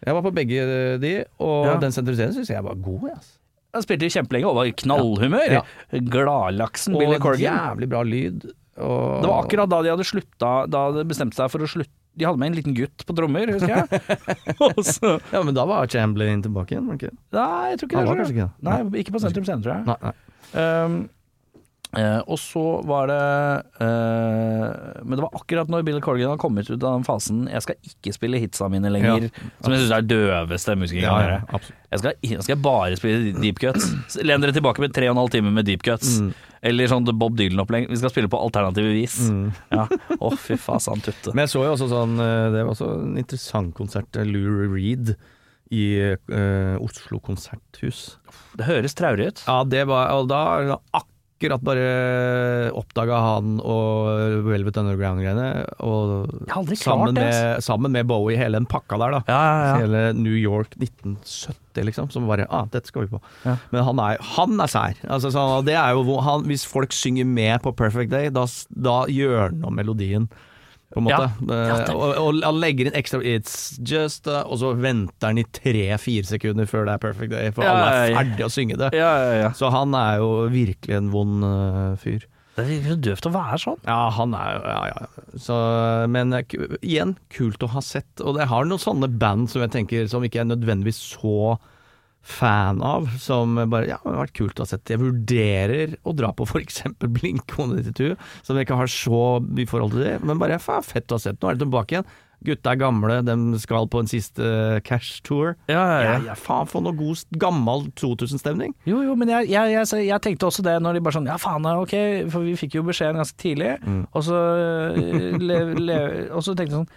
B: Jeg var på begge eh, de, og
A: Ja.
B: den sentraliseringen syns jeg var god. jeg, Altså.
A: Han spilte kjempelenge og var i knallhumør.
B: Ja.
A: Gladlaksen
B: Og
A: Mm. Billy Corgan.
B: jævlig bra lyd. Og...
A: Det var akkurat da de hadde slutta Da de bestemte seg for å slutte De hadde med en liten gutt på trommer, husker jeg. og så,
B: Ja, men da var Chamberlain tilbake igjen, var det ikke? det?
A: nei, jeg tror ikke
B: Han
A: det. tror jeg.
B: var kanskje ikke det.
A: Nei, ikke på Sentrum Scene, tror jeg.
B: Nei, nei.
A: Um, eh, og så var det eh, Men det var akkurat når Bill Corgan hadde kommet ut av den fasen 'jeg skal ikke spille hitsa mine lenger',
B: Ja.
A: som jeg syns er døveste musikken
B: Ja,
A: kan
B: ja,
A: gjøre.
B: absolutt.
A: Jeg skal, jeg skal bare spille deep cuts. Len dere tilbake med tre og en halv time med deep cuts.
B: Mm.
A: Eller sånn Bob Dylan-opplegg. Vi skal spille på alternative vis. Ja. Å, fy faen, tutte.
B: Mm. Men jeg så jo også sånn eh, Det var også en interessant konsert. eh, Lou Reed i eh, Oslo konserthus.
A: Det høres traurig ut.
B: Ja, det var Og da akkurat bare oppdaga han og Velvet Underground-greiene. Og
A: Jeg har aldri klart
B: sammen,
A: det, altså. ass.
B: med, sammen med Bowie, hele den pakka der, da.
A: Ja, ja, ja.
B: Hele New York 1970, liksom. Som bare ah, dette skal vi på.
A: Ja.
B: Men han er, han er sær. Altså, så det er jo hvor han, hvis folk synger med på Perfect Day, da, s- da gjør han om melodien. På en måte. Eh, og, og han legger inn ekstra It's just eh, Og så venter han i tre-fire sekunder før det er Perfect Day, for
A: Ja,
B: alle er
A: ja, ja.
B: ferdig å synge det.
A: Ja, ja, ja.
B: Så han er jo virkelig en vond øh, fyr.
A: Det er jo døvt å være sånn.
B: Ja, han er jo Ja, ja. Så, men eh, ku- igjen, kult å ha sett. Og jeg har noen sånne band som jeg tenker som ikke er nødvendigvis så fan av, som bare Ja, det har vært kult å ha sett. Jeg vurderer å dra på f.eks. Blink 192, som jeg ikke har så mye forhold til det, men bare faen, fett å ha sett. Nå er de tilbake igjen. Gutta er gamle, de skal på en siste cash-tour.
A: Ja,
B: Ja, ja, faen, for noe god, gammel 2000-stemning.
A: Jo, jo, men jeg, jeg, jeg, jeg tenkte også det når de bare sånn Ja, faen, ja, ok, for vi fikk jo beskjeden ganske tidlig.
B: Mm.
A: Og, så, eh, le, le, og så tenkte jeg sånn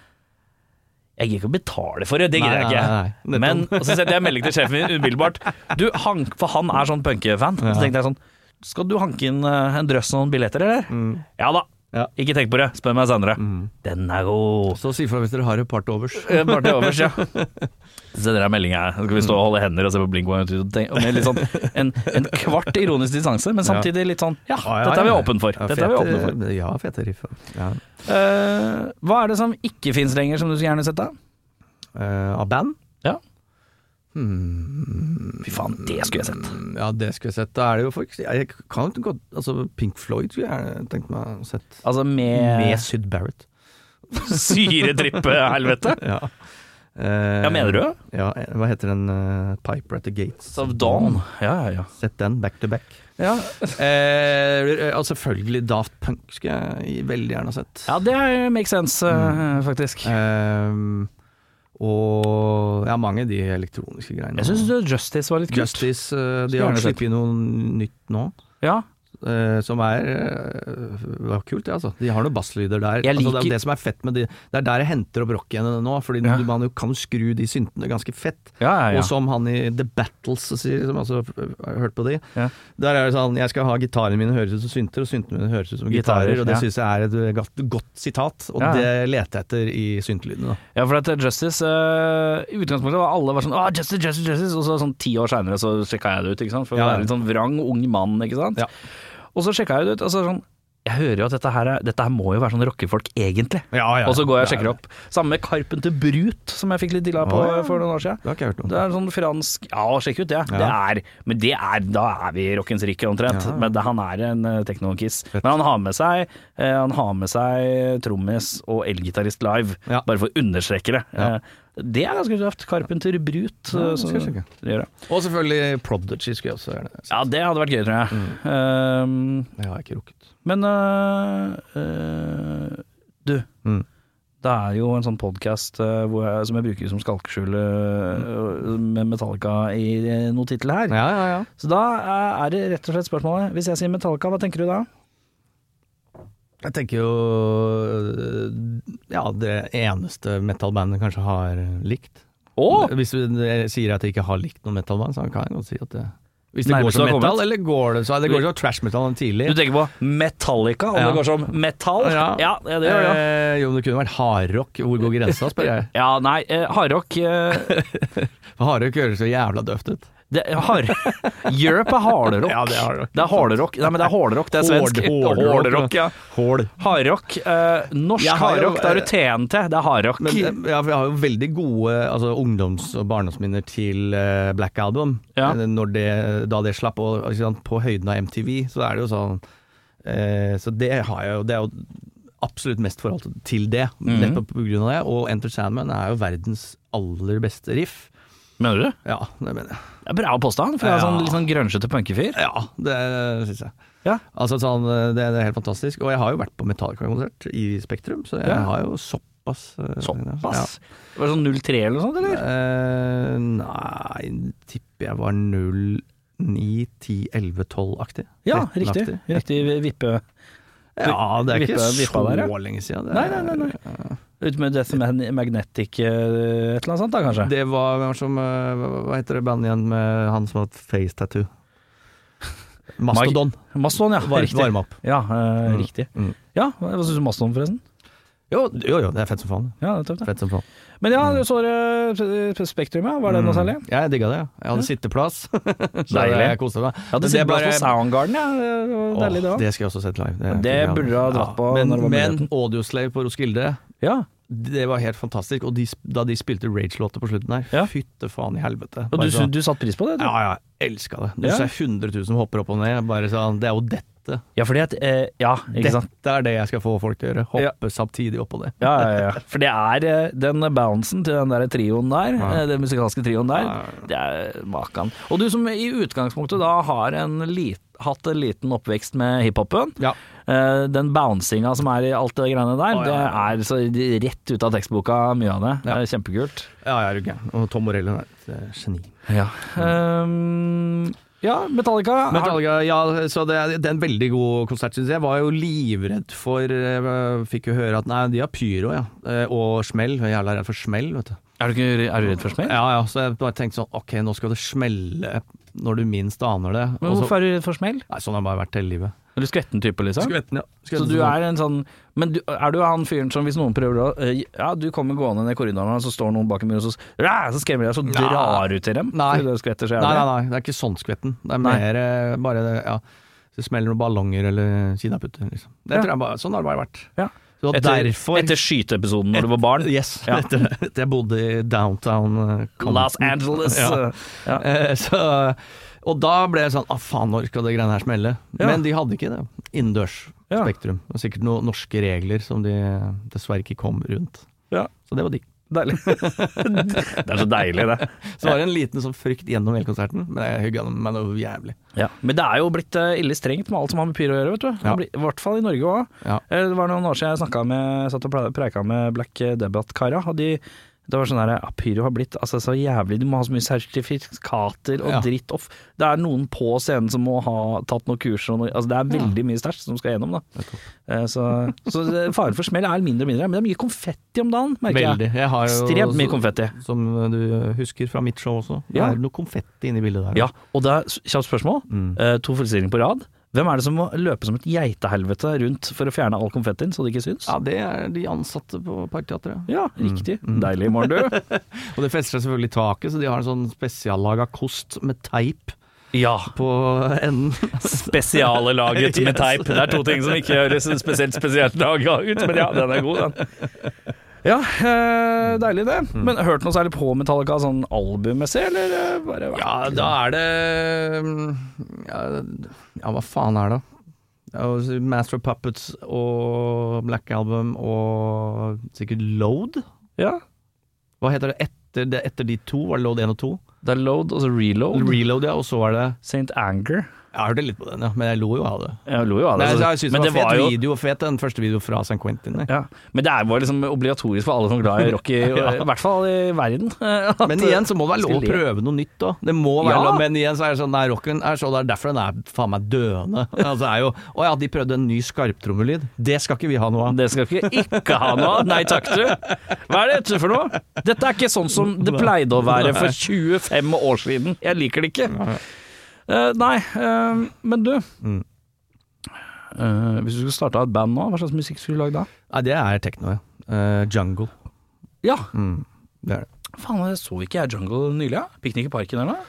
A: Jeg gidder ikke å betale for det, det gidder jeg
B: Nei,
A: ikke.
B: nei, nei, nei.
A: Men og så sendte jeg melding til sjefen min umiddelbart. Du, han, for han er sånn punkefan. Så tenkte jeg sånn Skal du hanke inn eh, en drøss noen billetter, eller?
B: Mm.
A: Ja da.
B: Ja. Mm.
A: Ikke tenk på det, spør meg senere. Den er god.
B: Så si ifra hvis dere har et par til overs.
A: Eh, Bare til overs, ja. Så sender jeg melding her. Så skal vi stå og holde hender og se på Blink 182 og tenke- og med litt sånn en, en kvart ironisk distanse, men samtidig litt sånn Ja, dette er vi åpen for. Dette er vi åpen for.
B: Ja, fete riff. Ja.
A: Eh, hva er det som ikke fins lenger, som du skulle gjerne sett da?
B: Eh, av band?
A: Ja.
B: Hmm,
A: Fy faen, det skulle jeg sett.
B: ja, det skulle jeg sett. Da er det jo folk Jeg kan jo godt Altså, Pink Floyd skulle jeg gjerne tenkt meg å sett.
A: Altså
B: Med
A: med
B: Syd Barrett.
A: syretrippe-helvete.
B: Ja. Eh,
A: Ja, mener du?
B: Ja, hva heter den eh, Piper at the Gates?
A: Of Dawn. Ja, ja, ja.
B: Sett den back to back.
A: Ja,
B: Eh, og selvfølgelig Daft Punk skulle jeg veldig gjerne ha sett.
A: ja det makes sense, eh, faktisk.
B: Ehm, og ja, mange av de elektroniske greiene.
A: Jeg syns Justice var litt kult.
B: Justice eh, De
A: Skulle
B: har
A: gjerne
B: sluppet noe nytt nå,
A: Ja.
B: eh, som er eh, var kult, det, altså. De har noen basslyder der.
A: Jeg
B: Altså, det er
A: liker-
B: jo det som er fett med de Det er der jeg henter opp rockene nå, Fordi
A: Ja.
B: du- man jo kan skru de syntene ganske fett.
A: Ja, ja, ja.
B: Og som han i The Battles sier, som altså har hørt på de.
A: Ja.
B: Der er det sånn Jeg skal ha gitarene mine høres ut som synter, og syntene mine høres ut som
A: Gitarer,
B: gitarer. og det
A: ja.
B: synes syns jeg er et eh, godt, godt sitat, og
A: Ja, ja.
B: det leter jeg etter i syntelydene. da.
A: Ja, for at Justice eh, I utgangspunktet var alle var sånn ah, Justice, Justice, Justice Og så sånn ti år seinere så sjekka jeg det ut, ikke sant. For å
B: Ja, ja.
A: være en sånn vrang ung mann, ikke sant.
B: Ja.
A: Og så sjekka jeg det ut, og så sånn Jeg hører jo at dette her, er- dette her må jo være sånn rockefolk, egentlig.
B: Ja, ja,
A: og så går jeg og
B: det er
A: sjekker opp. Samme med Carpenter Brut, som jeg fikk litt dilla på
B: Å, ja.
A: for noen år siden.
B: Det har ikke jeg hørt noe om.
A: Det er sånn fransk Ja, sjekk ut det. Det er Men det er Da er vi i rockens rike, omtrent.
B: Ja.
A: Men det, han er en eh, teknokiss. Men han har med seg eh, Han har med seg trommis og elgitarist live,
B: Ja.
A: bare for å understreke det.
B: Ja.
A: Eh, det er ganske tøft. Carpenter Brut. eh,
B: det skal jeg sjekke.
A: det gjør det.
B: Og selvfølgelig Prodigy skulle jeg også gjerne sett.
A: Ja, det hadde vært gøy, tror jeg. Eh,
B: Det har jeg ikke rukket.
A: men øh, øh, du,
B: Mm.
A: det er jo en sånn podkast som jeg bruker som skalkeskjul øh, med Metallica i øh, noen tittel her.
B: Mm. Ja, ja, ja.
A: Så da øh, er det rett og slett spørsmålet. Hvis jeg sier Metallica, hva tenker du da?
B: Jeg tenker jo øh, ja, det eneste metal-bandet kanskje har likt.
A: Å!
B: Hvis du eh, sier at jeg ikke har likt noen metalband, så kan jeg godt si at det Hvis det
A: Nærmest
B: går som
A: du har
B: metal,
A: kommet.
B: eller går det så Det går som trash metal enn tidlig.
A: Du tenker på Metallica, om
B: Ja.
A: det går som metall? ja det gjør det. ja.
B: Eh, jo, men det kunne vært hardrock. Hvor går grensa, spør jeg.
A: Ja, nei, eh, hardrock eh,
B: For Hardrock høres så jævla døvt ut.
A: det, hard, Europe er hardrock.
B: Ja, det er hardrock.
A: Det er hardrock. Nei, men det er hardrock, det er svensk.
B: Hård- hårdrock,
A: Hårdrock, ja.
B: Hål.
A: Hardrock. Eh, norsk
B: Jeg har jo,
A: hardrock, da har du
B: eh,
A: TNT. Det er hardrock.
B: Men eh, ja, for jeg har jo veldig gode altså, ungdoms- og barndomsminner til eh, Black Album.
A: Ja.
B: Eh, Når det, da det slapp, og ikke sant, på høyden av MTV, så er det jo sånn eh, Så det har jeg jo Det er jo absolutt mest forhold til det,
A: Mhm.
B: nettopp på grunn av det. Og Enter Sandman er jo verdens aller beste riff.
A: Mener du?
B: Ja, det mener jeg.
A: Det er bra påstand, for jeg er sånn, litt sånn grønsjete punkefyr.
B: Ja, det syns jeg.
A: Ja.
B: Altså sånn, det, det er helt fantastisk. Og jeg har jo vært på Metallica-konsert i Spektrum, så jeg
A: Ja.
B: har jo såpass eh, Ja.
A: Såpass. Det var sånn 03 eller noe sånt, eller?
B: Eh, nei, tipper jeg var 0, 9, 10, 11, 12-aktig.
A: Ja, riktig. Riktig vippe.
B: Ja, det er ikke
A: Vippa- vippa
B: så
A: der, ja.
B: lenge siden. Det,
A: Nei, nei, nei, Ut med Death Man- Magnetic eh, et eller annet sånt, da, kanskje.
B: Det var hvem var som eh, Hva hva heter det bandet igjen med han som har hatt face tattoo? Mastodon.
A: Mastodon, ja.
B: Var,
A: riktig.
B: varme opp.
A: Ja, eh,
B: Mm.
A: riktig.
B: Mm.
A: Ja, hva syns du om Mastodon, forresten?
B: Jo, jo, jo, det er fett som faen.
A: Ja, det er tøft, det.
B: Fett som faen.
A: Men ja, du så eh, Spektrum, ja. Var det noe særlig?
B: Mm. Ja, jeg digga det. ja. Jeg hadde sitteplass. Så
A: Deilig.
B: Jeg koste meg.
A: Ja, det
B: Men
A: sitter bare
B: bare-
A: på Soundgarden, ja. Det var deilig, det
B: Åh,
A: òg.
B: det skal jeg også sett live.
A: Det burde du ha dratt på
B: Men,
A: når det var
B: men
A: muligheten.
B: Audioslave på Roskilde
A: Ja.
B: Det var helt fantastisk. Og de, da de spilte Rage-låter på slutten her,
A: Ja.
B: fytte faen i helvete.
A: Og
B: Bare
A: du,
B: sånn,
A: du satte pris på det? Du?
B: ja, ja, jeg elska det. Du
A: Ja.
B: ser 100 000 som hopper opp og ned. Bare sånn, det er jo dette.
A: Ja, fordi at eh, Ja, ikke sant.
B: Dette er det jeg skal få folk til å gjøre. Hoppe samtidig opp på det.
A: Ja, ja, ja. For det er eh, den bouncen til den der trioen der,
B: Ja.
A: eh, den musikalske trioen der,
B: Ja,
A: det er makan. Og du som i utgangspunktet da har en lit, hatt en liten oppvekst med hiphopen,
B: Ja.
A: eh, den bouncinga som er i alt det greiene der,
B: Å, ja.
A: det er så rett ut av tekstboka, mye av det.
B: Ja.
A: Det er kjempekult.
B: Ja, jeg er jo gæren. Og Tom Morello er et eh, geni.
A: Ja. Um, ja, Metallica. har-
B: Metallica, ja, så det, det er en veldig god konsert, syns jeg. Jeg Var jo livredd for eh, Fikk jo høre at nei, de har pyro, ja. Eh, Og smell. Jeg er jævla redd for smell, vet du.
A: Er du, ikke, er du redd for smell?
B: Ja ja, så jeg bare tenkte sånn ok, nå skal det smelle når du minst aner det.
A: Men
B: Og så-
A: hvorfor er du redd for smell?
B: Nei, sånn har jeg bare vært hele livet.
A: Er du skvetten type, liksom?
B: Skvetten, ja.
A: Så du er en sånn Men du, er du han fyren som hvis noen prøver å eh, Ja, du kommer gående ned korridoren, og så står noen bak en mur, og så, ja, så skremmer de deg, så drar du til dem?
B: Nei.
A: Fordi du skvetter så
B: Nei, nei,
A: jævlig?
B: nei, det er ikke sånn skvetten. Det er
A: Nei.
B: mer eh, bare det, ja. Så Det smeller noen ballonger eller kinaputter, liksom. Det
A: Ja.
B: tror jeg bare, sånn har det bare vært.
A: Ja.
B: Så
A: Etter,
B: derfor
A: etter skyteepisoden når du var barn?
B: Yes.
A: Ja.
B: Etter, etter jeg bodde i downtown eh, Compton.
A: Los Angeles.
B: Ja.
A: eh, Ja.
B: Eh, så, og da ble jeg sånn ah, faen, når skal det greiene her smelle?
A: Ja.
B: Men de hadde ikke det. Innendørs
A: Ja.
B: Spektrum. Og sikkert noen norske regler som de dessverre ikke kom rundt.
A: Ja.
B: Så det var de.
A: Deilig. det er så deilig, det.
B: Så var det en liten sånn frykt gjennom hele konserten, men jeg hygga meg noe jævlig.
A: Ja. Men det er jo blitt eh, ille strengt med alt som har med pyro å gjøre, vet du. Det
B: Ja.
A: blir- I hvert fall i Norge òg.
B: Ja.
A: Det var noen år siden jeg snakket med, jeg satt og ple- preika med Black Debatt-kara. og de- Det var sånn her, ja, Pyro har blitt altså, så jævlig, du må ha så mye sertifikater og
B: Ja.
A: dritt off. Det er noen på scenen som må ha tatt noen kurser og noe altså, Det er veldig mye stæsj som skal gjennom, da. Eh, Så, så det- faren for smell er mindre og mindre, men det er mye konfetti om dagen, merker jeg.
B: Veldig. Jeg har jo
A: Ekstremt mye konfetti.
B: Som du husker fra mitt show også. Det
A: Ja.
B: er noe konfetti inni bildet der.
A: Ja, og det er s- kjapt spørsmål. Eh, to forestillinger på rad. Hvem er det som må løpe som et geitehelvete rundt for å fjerne all konfettien så det ikke syns?
B: Ja, det er de ansatte på Parkteatret.
A: Ja, riktig. Deilig, morgen du.
B: Og det fester seg selvfølgelig i taket, så de har en sånn spesiallaga kost med teip
A: ja.
B: på enden.
A: Spesialelaget med teip. Det er to ting som ikke høres spesielt spesielt laga ut, men ja, den er god, den. Ja, eh, deilig det. Men hørt noe særlig på Metallica sånn albummessig, eller eh, bare
B: Ja, da er det mm, Ja, ja hva faen er det? Det er jo Master of Puppets og Black Album og sikkert Load.
A: ja.
B: Hva heter det etter, det, etter de to? Var det Load 1 og 2?
A: Det er load, og så altså reload.
B: Reload, ja, og så var det
A: St. Anger.
B: Jeg hørte litt på den, ja, men jeg lo jo av det.
A: Jeg lo jo av
B: Nei,
A: det.
B: så
A: altså.
B: jeg synes
A: men
B: det var fet
A: jo-
B: video, fet den første videoen fra St. Quentin. der.
A: ja. Men det er- var liksom obligatorisk for alle som er glad i rock, i,
B: Ja.
A: i hvert fall i verden. at-
B: Men igjen så må det være lov
A: Skal
B: å
A: le.
B: prøve noe nytt òg. Det må være
A: Ja.
B: lov, men igjen så er det sånn Nei, rocken er så Det er derfor den er faen meg døende. Altså, det er jo Å ja, de prøvde en ny skarptrommelyd. Det skal ikke vi ha noe av.
A: Det eh, skal ikke ikke ha noe av. Nei takk, du. Hva er dette for noe? Dette er ikke sånn som det pleide å være for 25 år siden. Jeg liker det ikke. Eh, nei, eh, men du.
B: Mm.
A: Eh, hvis du skulle starta et band nå, hva slags musikk skulle du lagd da?
B: Nei, det er tekno, ja. Eh, jungle. Mm,
A: Ja,
B: Det er det.
A: faen, jeg så ikke jeg Jungle nylig? ja? Piknik i parken eller noe?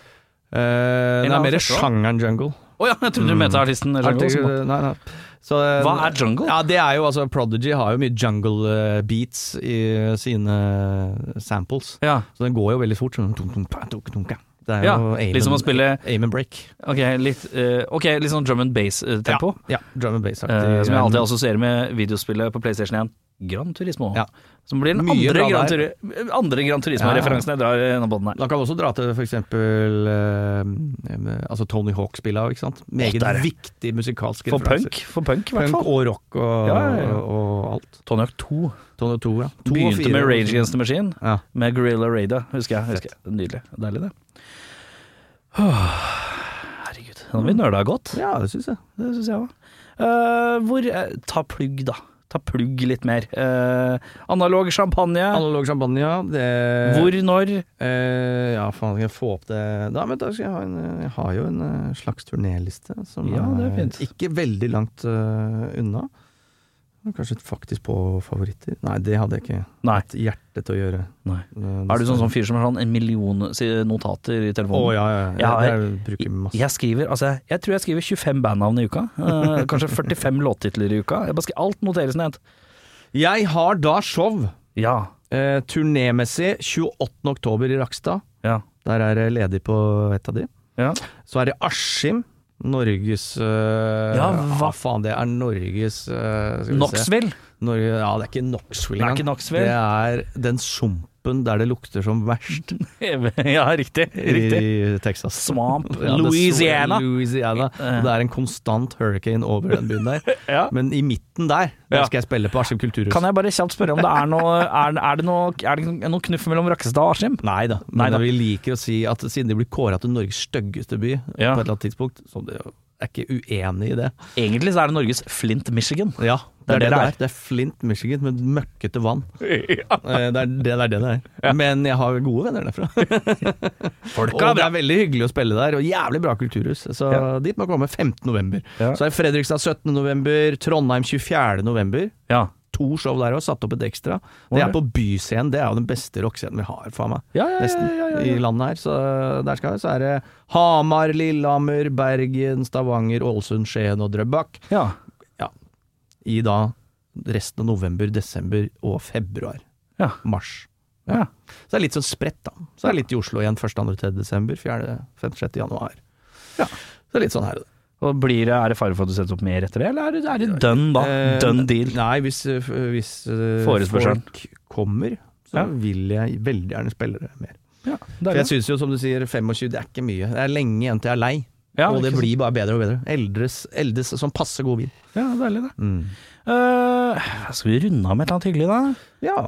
B: Eh, det
A: annen
B: er mer
A: festival?
B: sjangeren jungle.
A: Å ja, jeg trodde du mente artisten Jungle.
B: Artig-
A: som-
B: nei, nei. Så, Mm. eh,
A: Hva er Jungle?
B: Ja, det er jo altså Prodigy har jo mye jungle eh, beats i sine samples.
A: Ja,
B: Så den går jo veldig fort. Sånn, tunk, tunk, tunk, tunk, tunk. Det er
A: ja.
B: jo aim
A: liksom å
B: and-
A: spille
B: Aim and break.
A: Ok, litt, eh, ok, litt sånn drum and bass-tempo.
B: Ja, drum and bass-aktig.
A: Eh, som jeg alltid assosierer med videospillet på PlayStation 1. Gran Turismo.
B: Ja.
A: Som blir den
B: Mye
A: andre
B: bra
A: Gran,
B: der.
A: Turi andre Gran Turismo-referansen jeg drar gjennom båten her.
B: Da kan vi også dra til for eksempel eh, altså Tony Hawk-spilla, ikke sant. Meget
A: der, ja.
B: viktig musikalsk
A: For
B: referanse.
A: punk, for punk i hvert
B: Punk
A: fall.
B: og rock og,
A: Ja, ja, ja.
B: og, alt.
A: Tony Hawk 2
B: Tony 2, ja. To og
A: begynte
B: fire.
A: med Rage Against the Machine,
B: Ja.
A: med Gorilla Raida, husker jeg. Husker jeg. Nydelig. Deilig, det. Åh, Herregud. Nå har vi nøla godt.
B: Ja, det syns jeg.
A: Det syns jeg òg. Eh, hvor eh, Ta plugg, da. Ta plugg litt mer. Eh, analog champagne.
B: Analog champagne, ja. Det,
A: Hvor, når?
B: Eh, ja, faen, skal jeg få opp det Da, men da skal jeg ha en eh, Jeg har jo en eh, slags turnéliste som
A: Ja, det er fint.
B: ikke veldig langt eh, unna. Men Kanskje faktisk på favoritter. Nei, det hadde jeg ikke
A: Nei.
B: hatt hjerte til å gjøre.
A: Nei.
B: Eh,
A: Er du sånn, sånn fyr som har sånn en million si- notater i
B: Å
A: telefonen?
B: ja, ja. ja.
A: Ja,
B: Jeg, jeg, bruker masse
A: Jeg skriver, altså jeg- jeg tror jeg skriver 25 bandnavn i uka. Eh, kanskje 45 låttitler i uka. Jeg bare skriver, alt noteres ned.
B: Jeg har da show
A: Ja.
B: eh, turnémessig 28. oktober i Rakstad.
A: Ja.
B: Der er jeg ledig på et av de.
A: Ja.
B: Så er det Askim. Norges eh,
A: Ja, hva-
B: faen? Det er Norges eh, skal vi se.
A: Knoxville.
B: Norge, ja, det er ikke Knoxville
A: Det er
B: engang.
A: ikke
B: Det
A: Knoxville.
B: er den sumpen der det lukter som verst
A: Ja, riktig. riktig.
B: i Texas.
A: Swamp.
B: Ja, det er
A: Louisiana. Eh.
B: så- Louisiana. Og det er en konstant hurricane over den byen der.
A: Ja.
B: Men i midten der,
A: Ja.
B: der skal jeg spille på Askim kulturhus.
A: Kan jeg bare kjapt spørre om det er noe Er, er det noe, er det noe knuff mellom Rakkestad og Askim?
B: Nei da,
A: Nei
B: men
A: da.
B: vi liker å si at siden de blir kåra til Norges styggeste by
A: Ja.
B: på et eller annet tidspunkt, så det jeg er ikke uenig i det.
A: Egentlig så er det Norges Flint, Michigan.
B: Ja, det er det det
A: det
B: er. Det er Flint, Michigan med møkkete vann. Eh, Det er det det er. Det det er. Men jeg har gode venner derfra.
A: Folk
B: Og det er veldig hyggelig å spille der, og jævlig bra kulturhus. Så
A: Ja.
B: dit må komme 15. november.
A: Ja.
B: Så er Fredrikstad 17. november, Trondheim 24. november.
A: Ja.
B: To show der òg, satt opp et ekstra. Det er på Byscenen, det er jo den beste rockescenen vi har, faen meg.
A: Ja, ja, ja,
B: Nesten
A: ja, ja, ja.
B: i landet her. Så der skal vi. Så er det Hamar, Lillehammer, Bergen, Stavanger, Ålesund, Skien og Drøbak.
A: ja.
B: I da resten av november, desember og februar.
A: Ja.
B: Mars.
A: ja.
B: Så det er litt sånn spredt, da. Så det er litt i Oslo igjen 1., 2., 3. desember, 4., 5., 6. januar. Ja. Så det er litt sånn her og der.
A: Og blir det, Er det fare for at du setter opp mer etter det, eller er det, er det done da?
B: Eh,
A: Done deal.
B: Nei, hvis, eh, f- hvis eh,
A: Forespørselen.
B: folk kommer, så
A: Ja.
B: vil jeg veldig gjerne spille det mer.
A: Ja,
B: For
A: deilig.
B: jeg syns jo, som du sier, 25 det er ikke mye. Det er lenge igjen til jeg er lei.
A: Ja,
B: og det
A: ikke sant?
B: blir bare bedre og bedre. Eldres, eldes som passe god vin.
A: Ja, deilig det. Eh, skal vi runde av med et eller annet hyggelig, da?
B: Ja.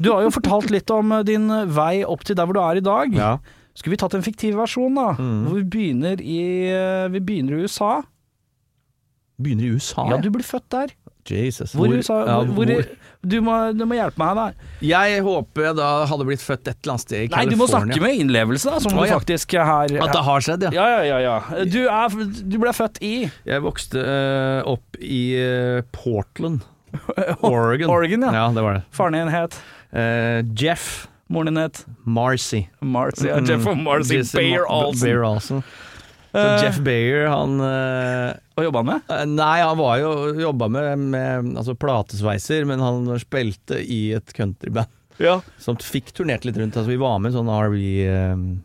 A: Du har jo fortalt litt om eh, din vei opp til der hvor du er i dag. Skulle vi tatt en fiktiv versjon, da? Hvor vi begynner i, eh, vi begynner i USA.
B: Begynner i USA.
A: Ja,
B: jeg.
A: du ble født der.
B: Jesus.
A: Hvor, i USA,
B: ja,
A: hvor, hvor,
B: hvor-
A: du, må, du må hjelpe meg her, da.
B: Jeg håper jeg da hadde blitt født et eller annet sted i
A: Nei, du må
B: California.
A: snakke med innlevelse, da, som
B: Å,
A: du
B: ja.
A: faktisk eh, her
B: At det har skjedd, ja.
A: Ja, ja, ja. ja. Du, er, du ble født i
B: Jeg vokste eh, opp i eh, Portland, Oregon.
A: Oregon, ja.
B: Ja, det var det.
A: Faren din het
B: Eh, Jeff
A: Moren din het
B: Marcy.
A: Marcy. Ja, Jeff og Marcy
B: Jesse
A: Bayer
B: Ma-
A: Olsen.
B: Bear Olsen. Så
A: Eh.
B: Jeff Bayer, han eh,
A: Hva jobba han med?
B: eh, Nei, han var jo jobba med, med altså platesveiser, men han spilte i et countryband
A: Ja.
B: som fikk turnert litt rundt. Altså, vi var med i sånn RV-bil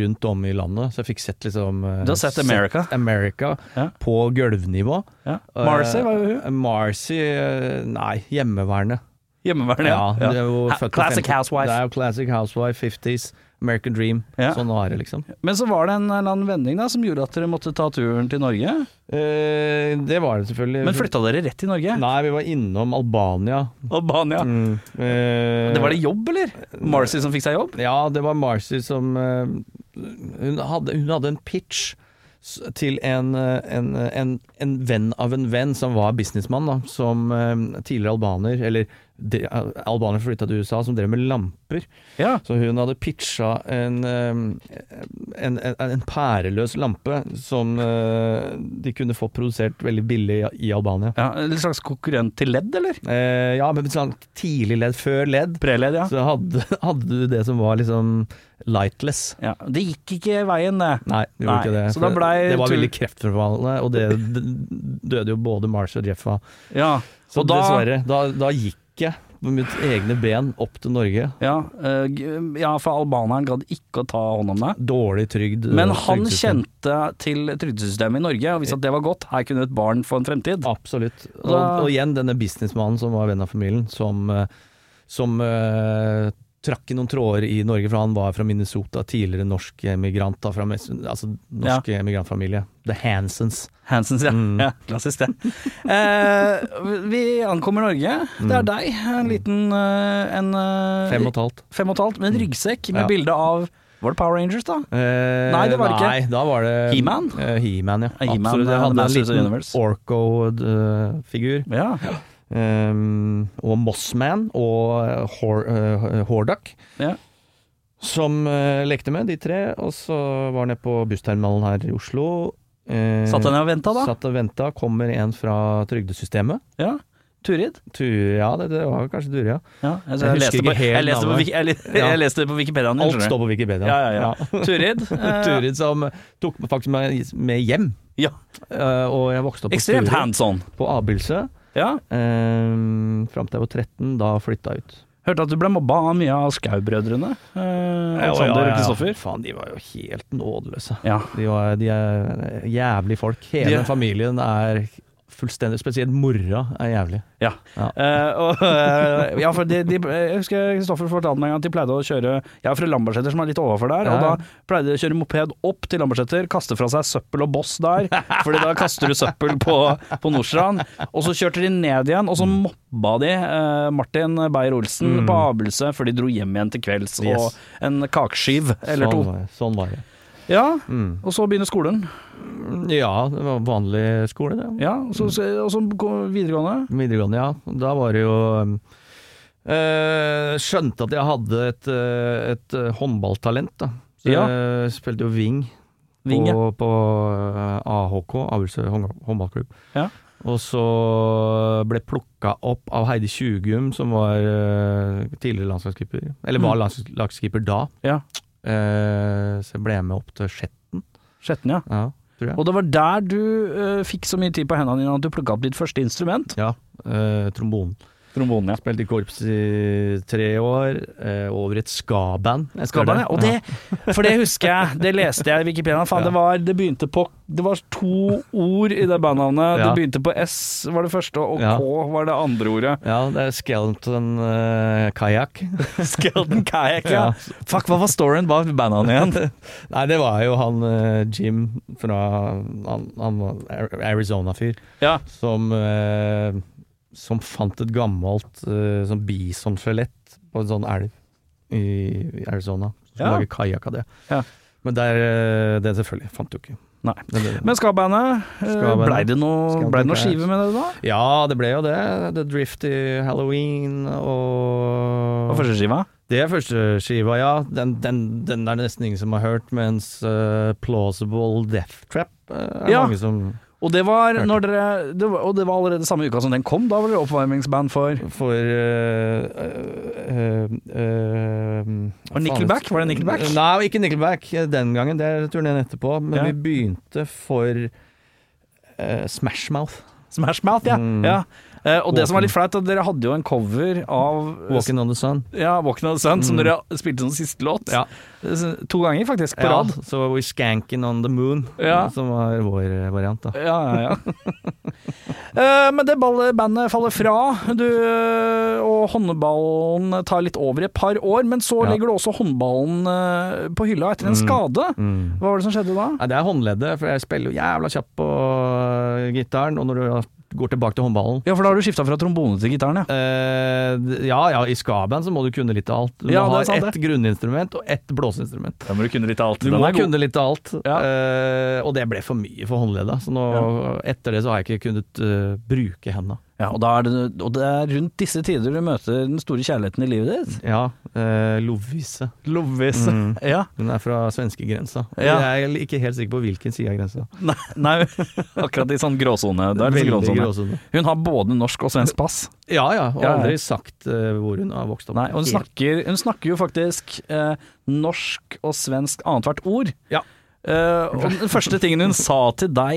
B: rundt om i landet, så jeg fikk sett liksom eh,
A: Du har sett America?
B: America
A: Ja.
B: på gulvnivå.
A: Ja. Marcy var jo hun.
B: Eh, Marcy eh, Nei, hjemmeværende.
A: Hjemmeværende.
B: Ja, det er jo
A: Ha-
B: født på
A: Classic
B: 50
A: Housewife.
B: Det er jo Classic Housewife, 50s. American Dream.
A: Ja.
B: Sånn var det, liksom.
A: Men så var det en eller annen vending da, som gjorde at dere måtte ta turen til Norge.
B: Eh, det var det selvfølgelig.
A: Men flytta dere rett til Norge?
B: Nei, vi var innom Albania.
A: Albania.
B: Mm. Eh,
A: Det Var det jobb, eller? Marcy som fikk seg jobb?
B: Ja, det var Marcy som eh, hun, hadde, hun hadde en pitch s- til en, eh, en, en, en venn av en venn som var businessmann, da, som eh, tidligere albaner, eller de, eh, albaner flytta til USA, som drev med lamper.
A: Ja.
B: Så hun hadde pitcha en, eh, en, en, en pæreløs lampe som eh, de kunne fått produsert veldig billig i i Albania.
A: ja en slags konkurrent til ledd, eller?
B: Eh, ja, men sånn tidlig ledd, før ledd,
A: Preledd, ja.
B: så hadde, hadde du det som var liksom lightless.
A: ja. Det gikk ikke veien, det.
B: Nei, det gjorde
A: Nei,
B: ikke det.
A: så da
B: for
A: blei
B: det var
A: tur-
B: veldig kreftforfallende, og det d- døde jo både Mars og Jeff av.
A: Ja.
B: Så
A: Og da-
B: dessverre, da, da gikk jeg på mitt egne ben opp til Norge.
A: Ja, eh, g- ja, for albaneren gadd ikke å ta hånd om deg.
B: Dårlig trygd.
A: Men
B: eh,
A: han
B: trygdesystem.
A: kjente til trygdesystemet i Norge og visste at det var godt. Her kunne et barn få en fremtid.
B: Absolutt. Og,
A: Da-
B: og igjen denne businessmannen som var venn av familien, som, eh, som eh, trakk i noen tråder i Norge, for han var fra Minnesota, tidligere norsk emigrant, da, fra, Mes- altså norsk emigrantfamilie. The Hansons.
A: Hansens, ja.
B: Mm.
A: ja klassisk, det. Eh, vi ankommer Norge. Det er deg. En liten eh, en, eh,
B: Mm. Fem og et halvt.
A: fem og et halvt med en ryggsekk med
B: Ja.
A: bilde av Var det Power Rangers, da?
B: Eh,
A: Nei, det var det ikke.
B: Nei, da var det
A: He-Man?
B: Eh, He-Man, ja.
A: Eh, He-Man,
B: Absolutt.
A: eh,
B: Jeg hadde en
A: Masters of the
B: liten eh,
A: Universe.
B: Orco-figur.
A: Ja.
B: Eh, Ehm, og Mossman og Hor eh, Hordak.
A: Ja.
B: Som eh, lekte med, de tre. Og så var han nede på bussterminalen her i Oslo. Eh,
A: Satt den og venta, da?
B: Satt og venta. Kommer en fra trygdesystemet.
A: Ja. Turid?
B: Tur, ja, det, det var kanskje Dure, ja.
A: Ja. altså, Jeg,
B: Jeg husker
A: leste
B: ikke
A: på,
B: helt
A: jeg, leste på,
B: navnet.
A: Wiki- jeg, li-
B: Ja.
A: jeg leste det på Wikipediaen din,
B: Alt
A: skjønner du.
B: står på Wikipedia.
A: Ja, ja, ja. Turid. eh,
B: Turid som tok faktisk meg med hjem.
A: Ja.
B: Eh, og jeg vokste opp på
A: Ekstremt
B: Turid.
A: hands on.
B: på Abildsø.
A: Ja.
B: Um, Fram til jeg var 13, da flytta jeg ut.
A: Hørte at du ble mobba av mye av Skau-brødrene. Eh, Alexander og Kristoffer.
B: Faen, de var jo helt nådeløse.
A: Ja.
B: De, var, de er jævlig folk. Hele
A: De-
B: familien er fullstendig Spesielt mora er jævlig.
A: Ja.
B: Ja.
A: Eh, og, eh, ja, for de, de, jeg husker Kristoffer fortalte meg en gang at de pleide å kjøre Jeg er fra Lambertseter, som er litt overfor der, og
B: Ja.
A: da pleide de å kjøre moped opp til Lambertseter, kaste fra seg søppel og boss der, Fordi da kaster du søppel på, på Nordstrand. Og så kjørte de ned igjen, og så
B: Mm.
A: mobba de eh, Martin Beyer-Olsen på Abelsø før de dro hjem igjen til kvelds,
B: Yes.
A: og en kakeskyv eller
B: sånn,
A: to.
B: var jeg- sånn var det.
A: Ja,
B: Mm.
A: og så begynner skolen.
B: Ja, det var vanlig skole, det.
A: Ja, og
B: Mm.
A: så, og så går videregående.
B: Videregående, ja. Da var det jo um, eh, Skjønte at jeg hadde et, eh, et eh, håndballtalent, da. Så
A: Ja.
B: jeg spilte jo wing
A: Vinge.
B: på, på eh, AHK, Avildsø hånd- håndballklubb.
A: Ja.
B: Og så ble plukka opp av Heidi Tjugum, som var eh, tidligere landslagskeeper. Eller
A: Mm.
B: var landslagskeeper da.
A: Ja.
B: Eh, så jeg ble med opp til Skjetten,
A: Skjetten, ja.
B: ja, tror jeg.
A: Og det var der du eh, fikk så mye tid på hendene dine at du plukka opp ditt første instrument.
B: Ja, eh, trombonen.
A: Trombonen, ja.
B: Spilte i korps i tre år, eh, over i et ska-band. etter
A: Skabane,
B: det.
A: og det, for det husker jeg, det leste jeg i Wikipedia. Faen,
B: Ja.
A: det, var, det begynte på Det var to ord i det bandnavnet.
B: Ja.
A: Det begynte på S var det første, og
B: Ja.
A: K var det andre ordet.
B: Ja, det er Skeleton uh, kajakk.
A: Skeleton Kayak, ja. Fuck, hva var storyen bak bandnavnet igjen?
B: Nei, det var jo han eh, Jim fra Han, han var Ar- Arizona-fyr
A: Ja.
B: som, eh, som fant et gammelt uh, sånn bisonskjelett på en sånn elv i Arizona. Så skulle
A: Ja.
B: lage kajakk av det.
A: Ja.
B: Men der, eh, det selvfølgelig fant du ikke.
A: Nei.
B: Men det-
A: Men Skabandet,
B: Ska-bandet.
A: blei det noe,
B: Skeleton
A: ble det noe
B: Kayak.
A: skive med det da?
B: ja, det ble jo det. The Drift i Halloween og
A: På første skiva?
B: Det er første skiva, ja. Den, den, den er det nesten ingen som har hørt, mens eh, Plausible Death Trap eh, er
A: Ja.
B: mange som
A: Og det, var når dere, det var, og det var allerede samme uka som den kom, da var dere oppvarmingsband for
B: får eh, eh, eh,
A: Var det Nickelback? Var det Nickelback?
B: Nei, ikke Nickelback eh, den gangen. Det er turneen etterpå. Men
A: Ja.
B: vi begynte for eh, Smash Mouth.
A: Smash Mouth, ja.
B: Mm.
A: ja. Eh, og det som var litt flaut, at dere hadde jo en cover av
B: Walking on the Sun.
A: Ja, Walking on the Sun, som dere spilte som siste låt. Eh,
B: Ja.
A: To ganger, faktisk, på rad.
B: Ja, så We Skanking on the Moon,
A: Ja.
B: som var vår eh, variant. da.
A: Ja, ja, ja. Eh, Men det ball- bandet faller fra, du, eh, og håndballen tar litt over i et par år. Men så
B: Ja.
A: legger du også håndballen eh, på hylla etter en skade. Hva var det som skjedde da?
B: Nei, det er håndleddet, for jeg spiller jo jævla kjapt på eh, gitaren, og når du da går tilbake til håndballen
A: Ja, for da har du skifta fra trombone til gitaren, ja.
B: eh, d- ja, ja, i skaband så må du kunne litt av alt. Du
A: Ja,
B: må
A: det er
B: ha
A: sant,
B: ett grunninstrument og ett blåseinstrument.
A: Da må du kunne litt av alt.
B: Du må kunne litt av alt,
A: Ja.
B: eh, og det ble for mye for håndledda. Så nå, etter det så har jeg ikke kunnet eh, bruke henda.
A: Ja, og, da er det, og det er rundt disse tider du møter den store kjærligheten i livet ditt.
B: Ja, eh, Lovise.
A: Lovvis. Ja.
B: Hun er fra svenskegrensa.
A: Ja.
B: Jeg er ikke helt sikker på hvilken side av grensa.
A: Nei, nei, akkurat i sånn gråsone. Da er det
B: Veldig
A: gråsone.
B: gråsone.
A: Hun har både norsk og svensk pass.
B: Ja ja, og
A: Ja, ja.
B: aldri sagt eh, hvor hun har vokst opp.
A: Nei, og hun
B: Helt-
A: snakker, hun snakker jo faktisk eh, norsk og svensk annethvert ord.
B: Ja.
A: Eh, og den første tingen hun sa til deg,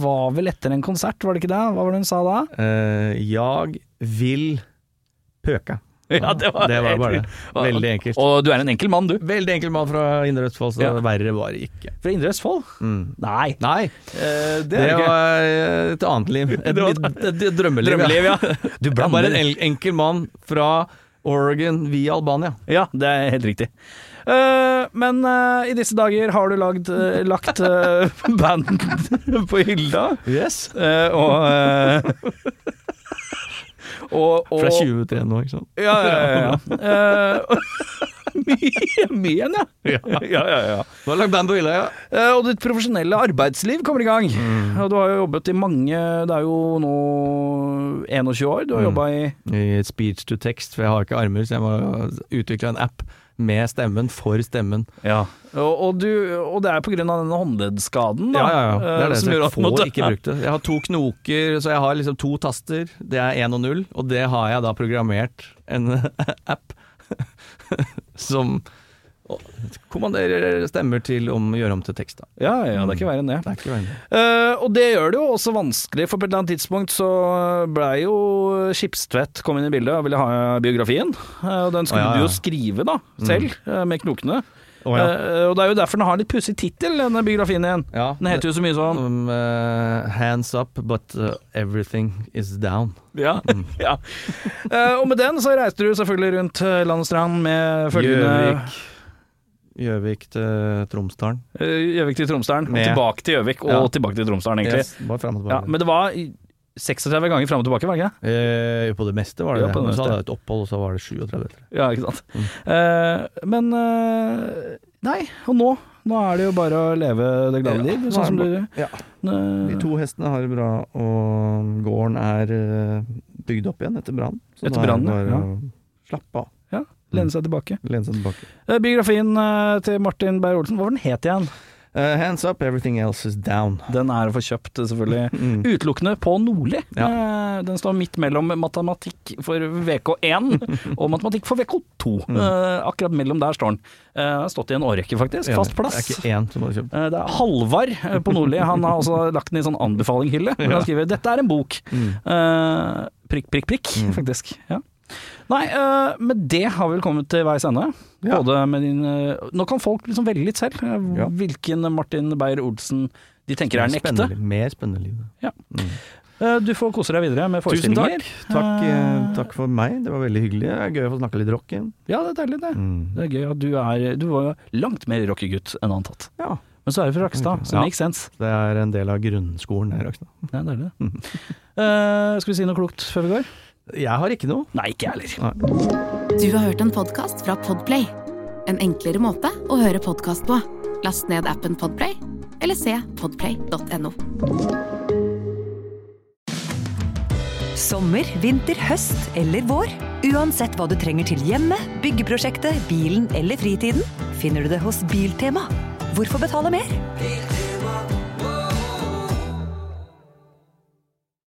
A: var vel etter en konsert, var det ikke det? Hva var det hun sa da?
B: Eh, jeg vil pøke.
A: Ja, det var-
B: bare det. Veldig enkelt.
A: Og du er en enkel mann, du.
B: Veldig enkel mann fra Indre Østfold, så
A: Ja.
B: verre var det ikke.
A: Fra Indre Østfold? Nei.
B: Nei,
A: Eh, det
B: det,
A: er det ikke.
B: var eh, et annet liv. Et,
A: var et-
B: litt- et, et drømmeliv.
A: Drømmeliv, ja.
B: Du blander. Bare en el- enkel mann fra Oregon via Albania.
A: Ja, det er helt riktig. Eh, men eh, i disse dager har du lagd, eh, lagt eh, band på hylla.
B: Yes.
A: Eh, og, eh, og, og
B: Fra 20 til 1 år, ikke sant.
A: Ja, ja, ja. ja. Eh, Mye mye igjen, ja. ja, ja, ja.
B: Du har lagt band på hylla, ja.
A: Eh, Og ditt profesjonelle arbeidsliv kommer i gang.
B: Mm.
A: Og du har jo jobbet i mange Det er jo nå 21 år du har
B: Mm.
A: jobba i
B: I Speech to text, for jeg har ikke armer, så jeg må utvikle en app med stemmen for stemmen.
A: og, og, du, og det er på grunn av denne håndleddskaden, da.
B: Ja, ja, ja. Det er
A: eh,
B: det,
A: som
B: så
A: gjør
B: jeg
A: at på en
B: får
A: måte-
B: ikke brukt det. Jeg har to knoker, så jeg har liksom to taster. Det er 1 og 0, og det har jeg da programmert en app som kommanderer stemmer til om å gjøre om til tekst. Da.
A: Ja, ja, det er ikke verre enn det.
B: Det er ikke verre.
A: Eh, og det gjør det jo også vanskelig, for på et eller annet tidspunkt så blei jo Skipstvedt kom inn i bildet og ville ha biografien. Eh, og den skulle
B: Å, ja,
A: du
B: ja. Mm.
A: jo skrive, da, selv, eh, med knokene.
B: Å, ja.
A: Eh, og det er jo derfor den har en litt pussig tittel, denne biografien igjen.
B: Ja,
A: Den heter jo så mye sånn
B: Som, eh, hands up, but eh, everything is down.
A: Ja.
B: Mm.
A: ja. Eh, og med den så reiste du selvfølgelig rundt eh, land og strand med følgende
B: Gjøvik. Gjøvik til Tromsdalen.
A: Eh, Gjøvik til Tromsdalen, og
B: Med-
A: tilbake til Gjøvik, og
B: Ja.
A: tilbake til Tromsdalen, egentlig.
B: Yes, bare frem og tilbake.
A: Ja, men det var i 36 ganger fram og tilbake, var det ikke?
B: Eh, på det meste var det
A: Ja,
B: det.
A: på det
B: Men Så
A: meste.
B: hadde jeg et opphold, og så var det 37. etter det.
A: Ja, ikke sant. Eh, men eh, Nei, og nå? Nå er det jo bare å leve det glade liv,
B: Ja, nå er
A: sånn som du
B: det Ja.
A: Eh,
B: De to hestene har det bra, og gården er eh, bygd opp igjen etter brannen. Så
A: Etter
B: da er
A: brannen,
B: det bare
A: ja.
B: å Slappe av.
A: Lene seg tilbake.
B: Lene seg tilbake.
A: Eh, biografien eh, til Martin Beyer-Olsen, hva var den het igjen?
B: Eh, hands up, everything else is down.
A: Den er å få kjøpt, selvfølgelig.
B: Mm.
A: Utelukkende på Nordli.
B: Ja.
A: Eh, den står midt mellom matematikk for VK1 og matematikk for VK2.
B: Mm.
A: Eh, akkurat mellom der står den. Eh, Den har stått i en årrekke, faktisk. Fast plass.
B: Det er ikke én som har kjøpt.
A: Eh, Det er Halvard eh, på Nordli. Han har også lagt den i en sånn anbefalinghylle. hvor Han skriver 'Dette er en bok'.
B: Mm.
A: Eh, prikk, prikk, prikk, faktisk. Ja. Nei, eh, med det har vi vel kommet til veis ende.
B: Ja.
A: Både med din eh, Nå kan folk liksom velge litt selv eh,
B: Ja.
A: hvilken Martin Beyer-Olsen de tenker er den ekte.
B: Spennende- Mer spennende liv.
A: Eh, Du får kose deg videre med
B: Tusen
A: forestillinger.
B: Takk, eh,
A: Eh,
B: takk for meg, det var veldig hyggelig. Det er gøy å få snakka litt rock igjen.
A: Ja, det er deilig,
B: Mm.
A: det. Det er gøy at du er Du var jo langt mer rockegutt enn antatt.
B: Ja.
A: Men så er du fra Rakstad, så
B: Ja.
A: det makes sense.
B: Det er en del av grunnskolen her. Rakstad.
A: Det er deilig, det.
B: Mm.
A: Eh, skal vi si noe klokt før vi går?
B: Jeg har ikke noe.
A: Nei, ikke jeg heller.
C: Du har hørt en podcast fra Podplay. En enklere måte å høre podcast på. Last ned appen Podplay, eller se podplay.no.
D: Sommer, vinter, høst eller vår. Uansett hva du trenger til hjemme, byggeprosjektet, bilen eller fritiden, finner du det hos Biltema. Hvorfor betale mer?